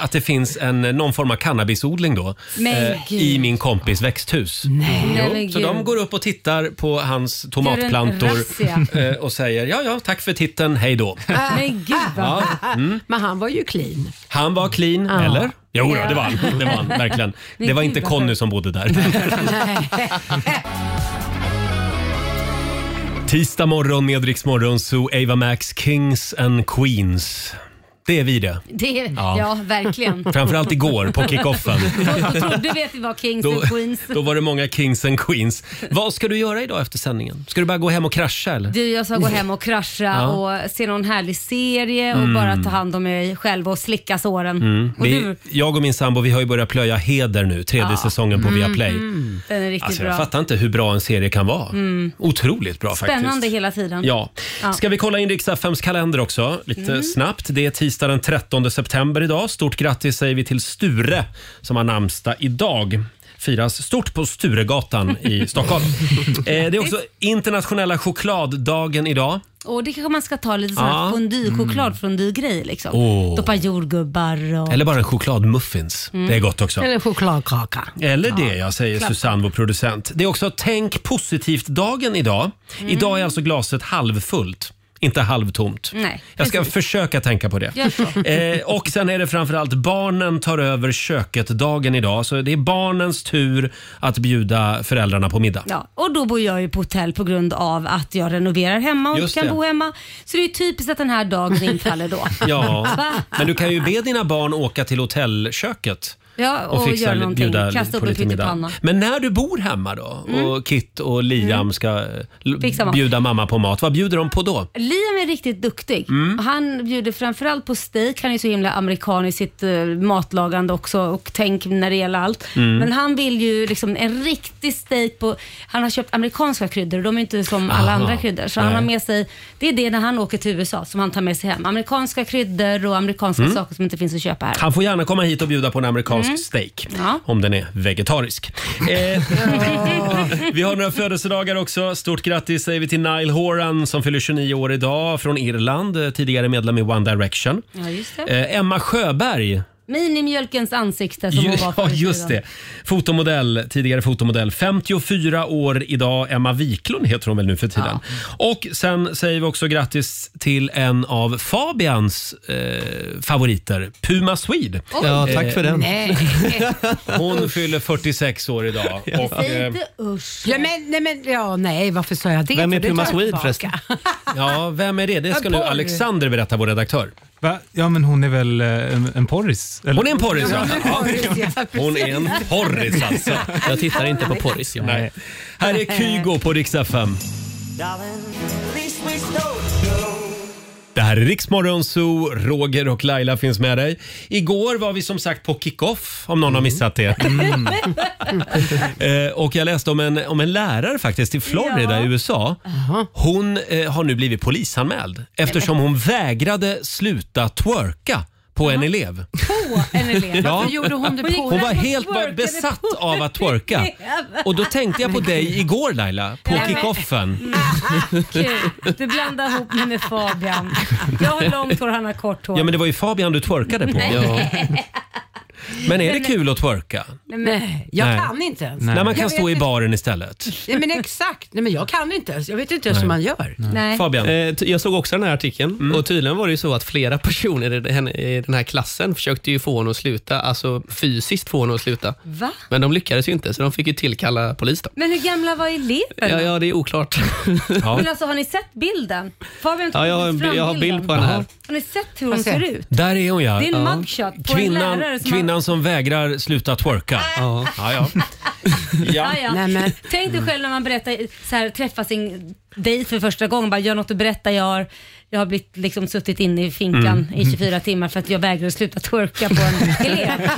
att det finns en, någon form av cannabisodling då eh,
Men gud.
i min kompis växthus.
Nej, men
Jo, så
gud.
de går upp och tittar på hans
Gör en
tomatplantor
razzia.
eh, och säger ja, ja, tack för titten, hej då.
Men gud
Ja, mm.
Men han var ju clean.
Han var clean,
Ja.
eller? Jo, då,
Ja.
det var han. Det var
[LAUGHS]
han, verkligen.
Men
Det var
gud,
inte
vad
Conny
skönt.
som bodde där. Tisdag morgon med Rix Morgon, så Ava Max, Kings and Queens. Det är vi det.
Det är,
Ja.
ja. verkligen.
Framförallt igår på
[LAUGHS]
kickoffen.
Då, då trodde vi att vi var Kings
Då,
and Queens.
då var det många Kings and Queens. Vad ska du göra idag efter sändningen? Ska du bara gå hem och krascha eller?
Du, jag ska gå hem och krascha
Ja.
och se någon härlig serie och
Mm.
bara ta hand om mig själv och slicka såren.
Mm.
Och
Vi,
du,
jag och min sambo vi har ju börjat plöja Heder nu, tredje
Ja.
säsongen på
Mm,
Viaplay.
mm. den är riktigt
Alltså,
bra.
jag fattar inte hur bra en serie kan vara.
Mm.
Otroligt bra
Spännande
faktiskt.
hela tiden.
Ja.
Ja.
Ska vi kolla in riks kalender också lite
Mm.
snabbt. Det är tisdag den 13 september idag. Stort grattis säger vi till Sture som har namnsdag idag. Firas stort på Sturegatan
[LAUGHS]
i Stockholm. eh, det är också internationella chokladdagen idag.
Och det kanske man ska ta lite sån här
Ja. Mm.
fondychoklad fondygrej liksom.
Åh.
Doppa jordgubbar och...
Eller bara en chokladmuffins.
Mm.
Det är gott också.
chokladkaka.
Eller det, jag säger
Klart.
Susanne, vår
Mm.
producent. Det är också Tänk positivt-dagen idag. Idag är alltså glaset halvfullt inte halvtomt.
Nej,
Jag ska
precis.
försöka tänka på det.
Gör [LAUGHS] så.
Eh, och sen är det framförallt barnen tar över köket-dagen idag. Så det är barnens tur att bjuda föräldrarna på middag.
Ja, och då bor jag ju på hotell på grund av att jag renoverar hemma och
Just
inte kan
det.
bo hemma. Så det är ju typiskt att den här dagen infaller då.
[LAUGHS] Ja,
Va?
men du kan ju be dina barn åka till hotellköket.
Ja, och göra
li-
någonting. Kasta upp en
middag.
pyttipanna. Mm.
Men när du bor hemma då och Kit och Liam ska eh, l-
Fixa mat.
bjuda mamma på mat, vad bjuder de på då?
Liam är riktigt duktig.
Mm.
Och Han bjuder framförallt på steak. Han är så himla amerikan i sitt eh, matlagande också och tänk när det gäller allt.
Mm.
Men han vill ju liksom en riktig steak på... Han har köpt amerikanska kryddor och de är inte som alla
Aha.
andra kryddor. Så han
Nej.
har med sig... Det är det när han åker till USA som han tar med sig hem. Amerikanska kryddor och amerikanska
Mm.
saker som inte finns att köpa här.
Han får gärna komma hit och bjuda på en amerikansk
Mm.
steak.
Ja.
Om den är vegetarisk. Eh,
[LAUGHS]
[LAUGHS] vi har några födelsedagar också. Stort grattis säger vi till Nile Horan som fyller 29 år idag från Irland. eh, Tidigare medlem i One Direction.
Ja, just det.
Eh, Emma Sjöberg
Minimjölkens ansikte som hon var
[LAUGHS] Ja,
förut i
just
tiden.
det. Fotomodell, tidigare fotomodell. 54 år idag. Emma Wiklund heter hon väl nu för tiden. Och sen säger vi också grattis till en av Fabians eh, favoriter, Puma Swede.
Oj.
Eh,
Nej.
[LAUGHS] Hon fyller 46
[LAUGHS]
år idag. Och,
Säg
eh,
inte usch. Ja, men, nej, men, ja, nej, varför sa jag det?
Vem är
För det
Puma
tar jag
Swede
tillbaka.
förresten? ja, vem är det? Det ska nu
Porr.
Alexander berätta, vår redaktör.
Va? Ja, men hon är väl eh, en, en porris? eller?
Hon är en porris, ja.
ja,
Hon är en porris alltså. Jag tittar inte på porris. Nej. Här är Kygo på Rix FM. Det här är Riksmorgon Zoo, Roger och Laila finns med dig. Igår var vi som sagt på kick-off, om någon har missat det. Eh, och jag läste om en, om en lärare faktiskt i Florida i USA. Hon eh, har nu blivit polisanmäld eftersom hon vägrade sluta twerka på en elev.
En elev.
Ja.
Varför gjorde hon det på?
Hon var helt bara besatt av att twerka. Och då tänkte jag på dig igår Laila, på
Nej, men- Mm,
kickoffen.
Ah,
Kul. Du blandar ihop mig med Fabian. Jag har långt hår, han har kort hår.
Ja men det var ju Fabian du twerkade på.
Nej.
Men är det kul att twerka?
Nej, jag
Nej.
kan inte ens.
När man
Jag
kan
vet
stå i
inte-
baren istället.
Nej, men exakt. Nej, men jag kan inte ens. Jag vet inte ens hur man gör.
Fabian?
jag såg också den här artikeln
Mm.
och tydligen var det ju så att flera [LAUGHS] personer i den- i den här klassen försökte ju få honom att sluta, alltså fysiskt få honom att sluta.
Va?
Men de lyckades ju inte, så de fick ju tillkalla polis då.
Men hur gamla var
Ja,
eleverna?
ja det är oklart.
Men alltså, har ni sett bilden? Fabian tog
Ja, jag har en bi-
fram
jag har bild
bilden.
på den här.
Har ni sett hur hon
Får se.
ser ut?
Där är hon ja.
Det är en
Ja.
mugshot på en
kvinnan,
lärare som har-
kvinnan som vägrar sluta twerka. Ja. Ja, ja.
[LAUGHS] Ja. Ja, Tänk dig själv när man berättar, så här, träffar sin dejt för första gången. Bara, gör något att berätta. Jag har, jag har blivit, liksom, suttit inne i finkan
Mm.
i 24 timmar för att jag vägrar att sluta twerka på
[LAUGHS]
en elev.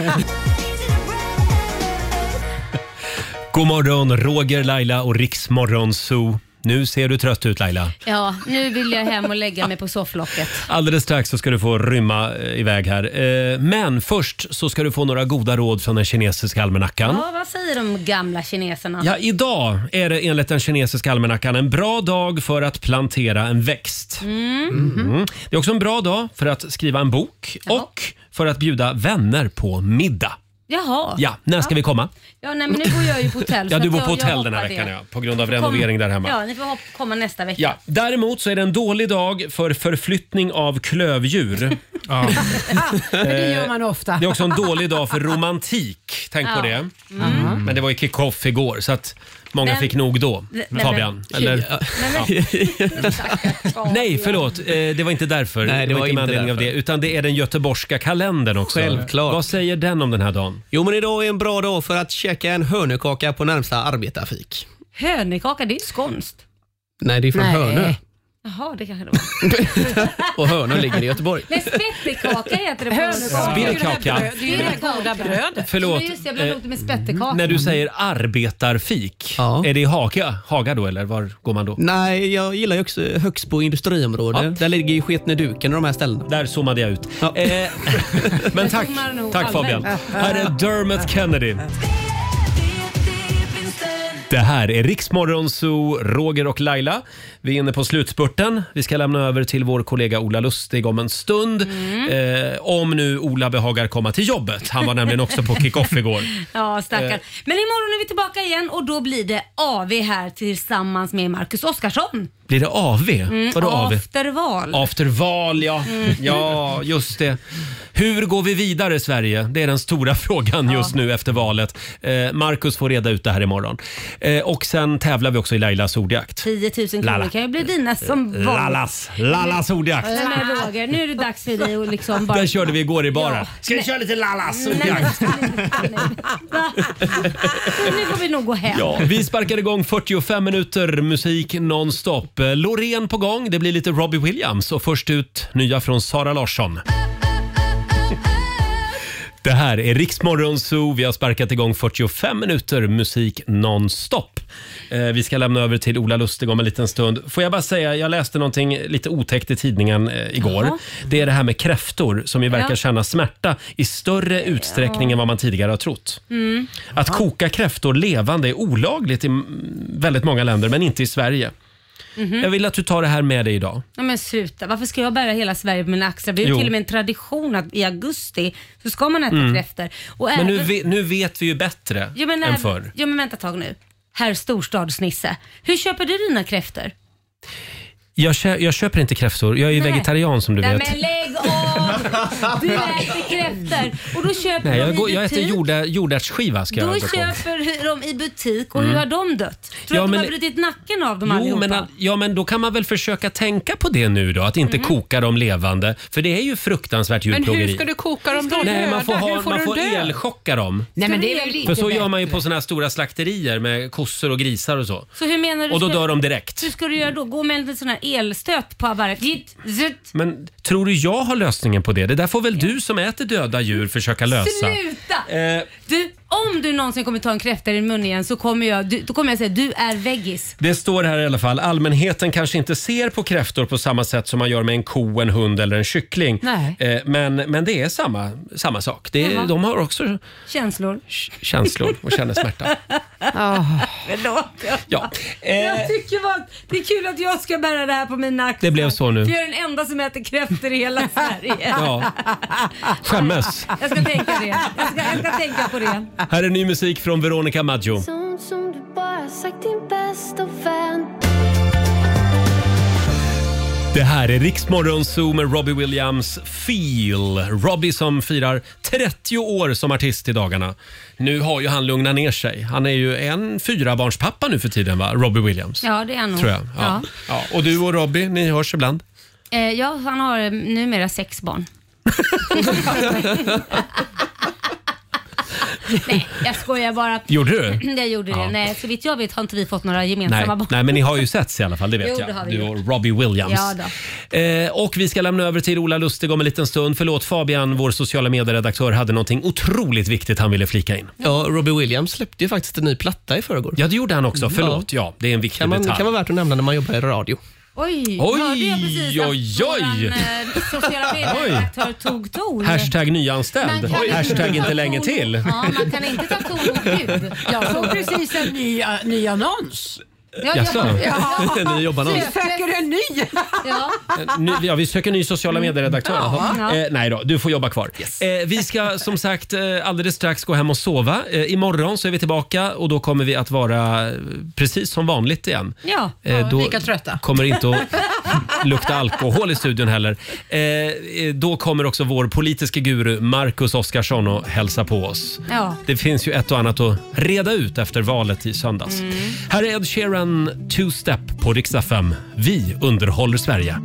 God morgon, Roger, Laila och Riksmorgon Zoo. Nu ser du trött ut Laila.
Ja, nu vill jag hem och lägga mig på sofflocket.
Alldeles strax så ska du få rymma eh, iväg här. Eh, Men först så ska du få några goda råd från den kinesiska almanackan.
Ja, vad säger de gamla kineserna?
Ja, idag är det enligt den kinesiska almanackan en bra dag för att plantera en växt.
Mm.
Mm. Det är också en bra dag för att skriva en bok och för att bjuda vänner på middag.
Jaha.
Ja, när ska vi komma?
Ja, nej, men nu bor jag ju på hotell.
[LAUGHS] Ja,
så
du
att
bor
jag-
på
jag
hotell den här
hoppar
veckan
det.
ja, på grund av renovering där hemma.
Ja, ni får hopp- komma nästa vecka.
Ja. Däremot så är det en dålig dag för förflyttning av
[LAUGHS]
klövdjur.
För Ah, det gör man ofta.
eh, Det är också en dålig dag för romantik. Tänk
Ja.
på det.
Mm.
Men det var ju kick-off igår så att många
Men-
fick nog då.
Nej, men-
Fabian.
Kul.
Eller?
Nej, [LAUGHS]
Ja. Nej, förlåt. Eh, Det var inte därför.
Nej, det var
med
inte
anledning av det.
därför.
Utan det är den göteborgska kalendern också.
Självklart.
Vad säger den om den här dagen?
[LAUGHS] Jo, men idag är en bra dag för att käka en hönökaka på närmsta arbetarfik.
Hönökaka, det är ju skånskt.
Nej, det är från
Nej.
Hönö.
Jaha, det kanske det var.
Och Hönö ligger i Göteborg.
Nej, spettekaka heter det på
Hönökaka. Spettekaka.
[LAUGHS] Det är ju det här goda brödet.
Förlåt,
Men Just det, jag blandade
eh,
ihop det med spettekaka.
Mm.
När du säger arbetarfik, är det i Haga, Haga då eller var går man då?
Nej, jag gillar ju också Högsbo industriområde. Där ligger ju Sketne Duken och de här ställena.
Där zoomade jag ut. Eh, [LAUGHS] Men tack,
zoomar nog
tack
allmänt.
Fabian. Här är Dermot Kennedy. Det här är Riksmorgon Zoo, Roger och Laila. Vi är inne på slutspurten. Vi ska lämna över till vår kollega Ola Lustig om en stund.
Mm.
Eh, om nu Ola behagar komma till jobbet. Han var nämligen också på kick-off igår.
Ja, stackarn.
Eh.
Men imorgon är vi tillbaka igen och då blir det AV här tillsammans med Marcus Oskarsson.
Blir det AV?
Mm.
Vadå AV?
Afterval.
Afterval, ja.
Mm.
Ja, just det. Hur går vi vidare Sverige? Det är den stora [LAUGHS] frågan just nu efter valet. Eh, Marcus får reda ut det här imorgon. Eh, och sen tävlar vi också i Lailas ordjakt.
10 000 kronor
Lala. Eh,
kan ju bli dina som vanligt.
Lallas, Lallas ordjakt.
Nej, men Roger, nu är det dags för dig att liksom bara...
Den körde vi igår i baren.
Ska vi köra lite Lallas
ordjakt? [LAUGHS]
Nu får vi nog gå hem.
Ja, vi sparkar igång 45 minuter musik nonstop. Eh, Loreen på gång, det blir lite Robbie Williams och först ut nya från Sara Larsson. Det här är Riksmorgon Zoo. Vi har sparkat igång 45 minuter musik nonstop. Eh, Vi ska lämna över till Ola Lustig om en liten stund. Får jag bara säga, jag läste någonting lite otäckt i tidningen eh, igår.
Jaha.
Det är det här med kräftor som ju verkar
Ja.
känna smärta i större utsträckning
Ja.
än vad man tidigare har trott.
Mm.
Att koka kräftor levande är olagligt i mm, väldigt många länder, men inte i Sverige.
Mhm.
Jag vill att du tar det här med dig idag.
Nej, men sluta, varför ska jag bära hela Sverige på mina axlar? Det är ju
Jo.
till och med en tradition att i augusti så ska man äta
Mm.
kräftor. Och
Men nu,
även-
ve- nu vet vi ju bättre
Jo, men,
än
även-
förr.
Jo men vänta ett tag nu. Herr storstadsnisse, hur köper du dina kräftor?
Jag, kö- jag köper inte kräftor. Jag är ju
Nej.
vegetarian som du
Nej,
vet.
men lägg av! Du äter kräftor och då köper de
Nej, jag,
i
går, jag äter
butik.
jorda, jordärtsskiva. Ska
Då
jag gå på.
köper de i butik och hur
Mm.
har de dött? Tror
Ja,
du att de
men-
har brutit nacken av dem
Jo,
allihopa?
men, all- ja, men då kan man väl försöka tänka på det nu då, att inte
Mm.
koka dem levande. För det är ju fruktansvärt
Men
djurplågeri.
hur ska du koka dem då?
Nej, man får,
Hur
ha, man
de
får
dö?
elchocka dem.
Nej, men det är väl lite
För så
bättre.
gör man ju på såna här stora slakterier med kossor och grisar och så.
Så hur menar du?
Och då
ska-
dör de direkt.
Hur ska du göra då? Gå med en sån här elstöt på varje... Jitt, zitt.
Men tror du jag har lösningen på det? Det där får väl du som äter döda djur försöka lösa.
Sluta!
Eh,
Du, om du någonsin kommer ta en kräfta i din mun igen så kommer jag, du, då kommer jag säga du är veggis.
Det står här i alla fall, allmänheten kanske inte ser på kräftor på samma sätt som man gör med en ko, en hund eller en kyckling.
Nej.
Eh, Men, men det är samma, samma sak. Det,
Jaha.
är- de har också
Känslor.
känslor och
[LAUGHS]
känner smärta.
Ah.
Eh.
Förlåt.
Ja.
Jag tycker bara, det är kul att jag ska bära det här på mina axlar.
Det blev så nu.
För jag är den enda som äter kräftor i hela Sverige.
[LAUGHS] Ja.
Ah,
Skämmes.
Jag ska tänka det. Jag ska, jag ska tänka på det.
Här är ny musik från Veronica Maggio.
Sånt som du bara sagt din bästa vän
Det här är Riksmorgon Zoo med Robbie Williams Feel. Robbie som firar 30 år som artist i dagarna. Nu har ju han lugnat ner sig. Han är ju en fyrabarnspappa nu för tiden va, Robbie Williams?
Ja, det är nog.
Tror jag.
Ja.
Ja. Ja. Och du och Robbie, ni hörs ibland?
Eh, ja, han har eh, numera sex
[LAUGHS]
barn. Nej, jag skojar bara.
Gjorde du?
[CLEARS THROAT] Jag gjorde
Ja.
det. Nej, så vitt jag vet har inte vi fått några
Nej,
gemensamma barn.
nej, men ni har ju setts i alla fall, det vet
Jo, det har
jag.
vi
Du
gjort.
och Robbie Williams.
Ja, då.
Eh, och vi ska lämna över till Ola Lustig om en liten stund. Förlåt Fabian, vår sociala medieredaktör hade någonting otroligt viktigt han ville flika in.
Ja, Robbie Williams släppte ju faktiskt en ny platta i förrgår. Mm.
Ja, det gjorde han också. Förlåt, ja. det är en viktig
kan man,
detalj.
kan vara värt att nämna när man jobbar i radio.
Oj,
Oj,
hörde jag precis
oj,
att
oj.
våran eh, sociala medieredaktör tog ton?
Hashtag
Man
nyanställd.
kan inte
Hashtag
ta
inte
ton-
länge till.
Ja, man kan inte ta ton mot ljud.
Jag såg precis en ny, uh, ny annons.
Ja, Jaså? [LAUGHS] En ny jobbannons.
Vi söker en ny.
ja.
Ny, ja, vi söker ny sociala
Mm.
medieredaktör.
Ja.
Jaha. Eh, nej då, du får jobba kvar. Eh, vi ska som sagt eh, alldeles strax gå hem och sova. Eh, imorgon så är vi tillbaka och då kommer vi att vara eh, precis som vanligt igen.
Ja,
Eh, då
lika trötta.
kommer det
[LAUGHS]
inte att [LAUGHS] lukta alkohol i studion heller. Eh, Eh, då kommer också vår politiska guru Marcus Oskarsson och hälsa på oss.
Ja.
Det finns ju ett och annat att reda ut efter valet i söndags. Här är Ed Sheeran, Two Step på riksdag 5. Vi underhåller Sverige.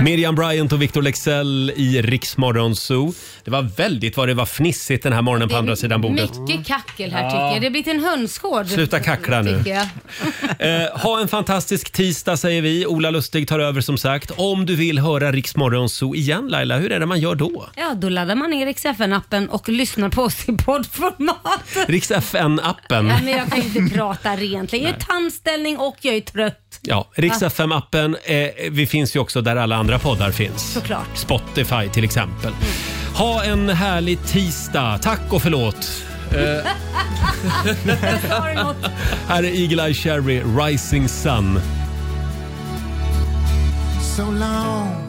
Miriam Bryant och Victor Lexell i Riksmorgon Zoo. Det var väldigt vad det var fnissigt den här morgonen på andra sidan bordet.
[LAUGHS] Mycket kackel här
Ja.
tycker jag. Det har blivit en hönsgård.
Sluta kackla nu.
tycker jag.
Eh, ha en fantastisk tisdag säger vi. Ola Lustig tar över som sagt. Om du vill höra Riksmorgon Zoo igen Laila, hur är det man gör då?
Ja, då laddar man ner XFN-appen och lyssnar på oss i poddformat.
Riks FN-appen.
Nej, men jag kan ju inte prata rent. Jag är i tandställning och jag är trött.
Ja, Rix
Ah.
FM-appen. Eh, vi finns ju också där alla andra poddar finns.
Såklart.
Spotify
[LAUGHS]
till exempel. Ha en härlig tisdag. Tack och förlåt. Eh, Här är Eagle Eye Cherry, Rising Sun.
So long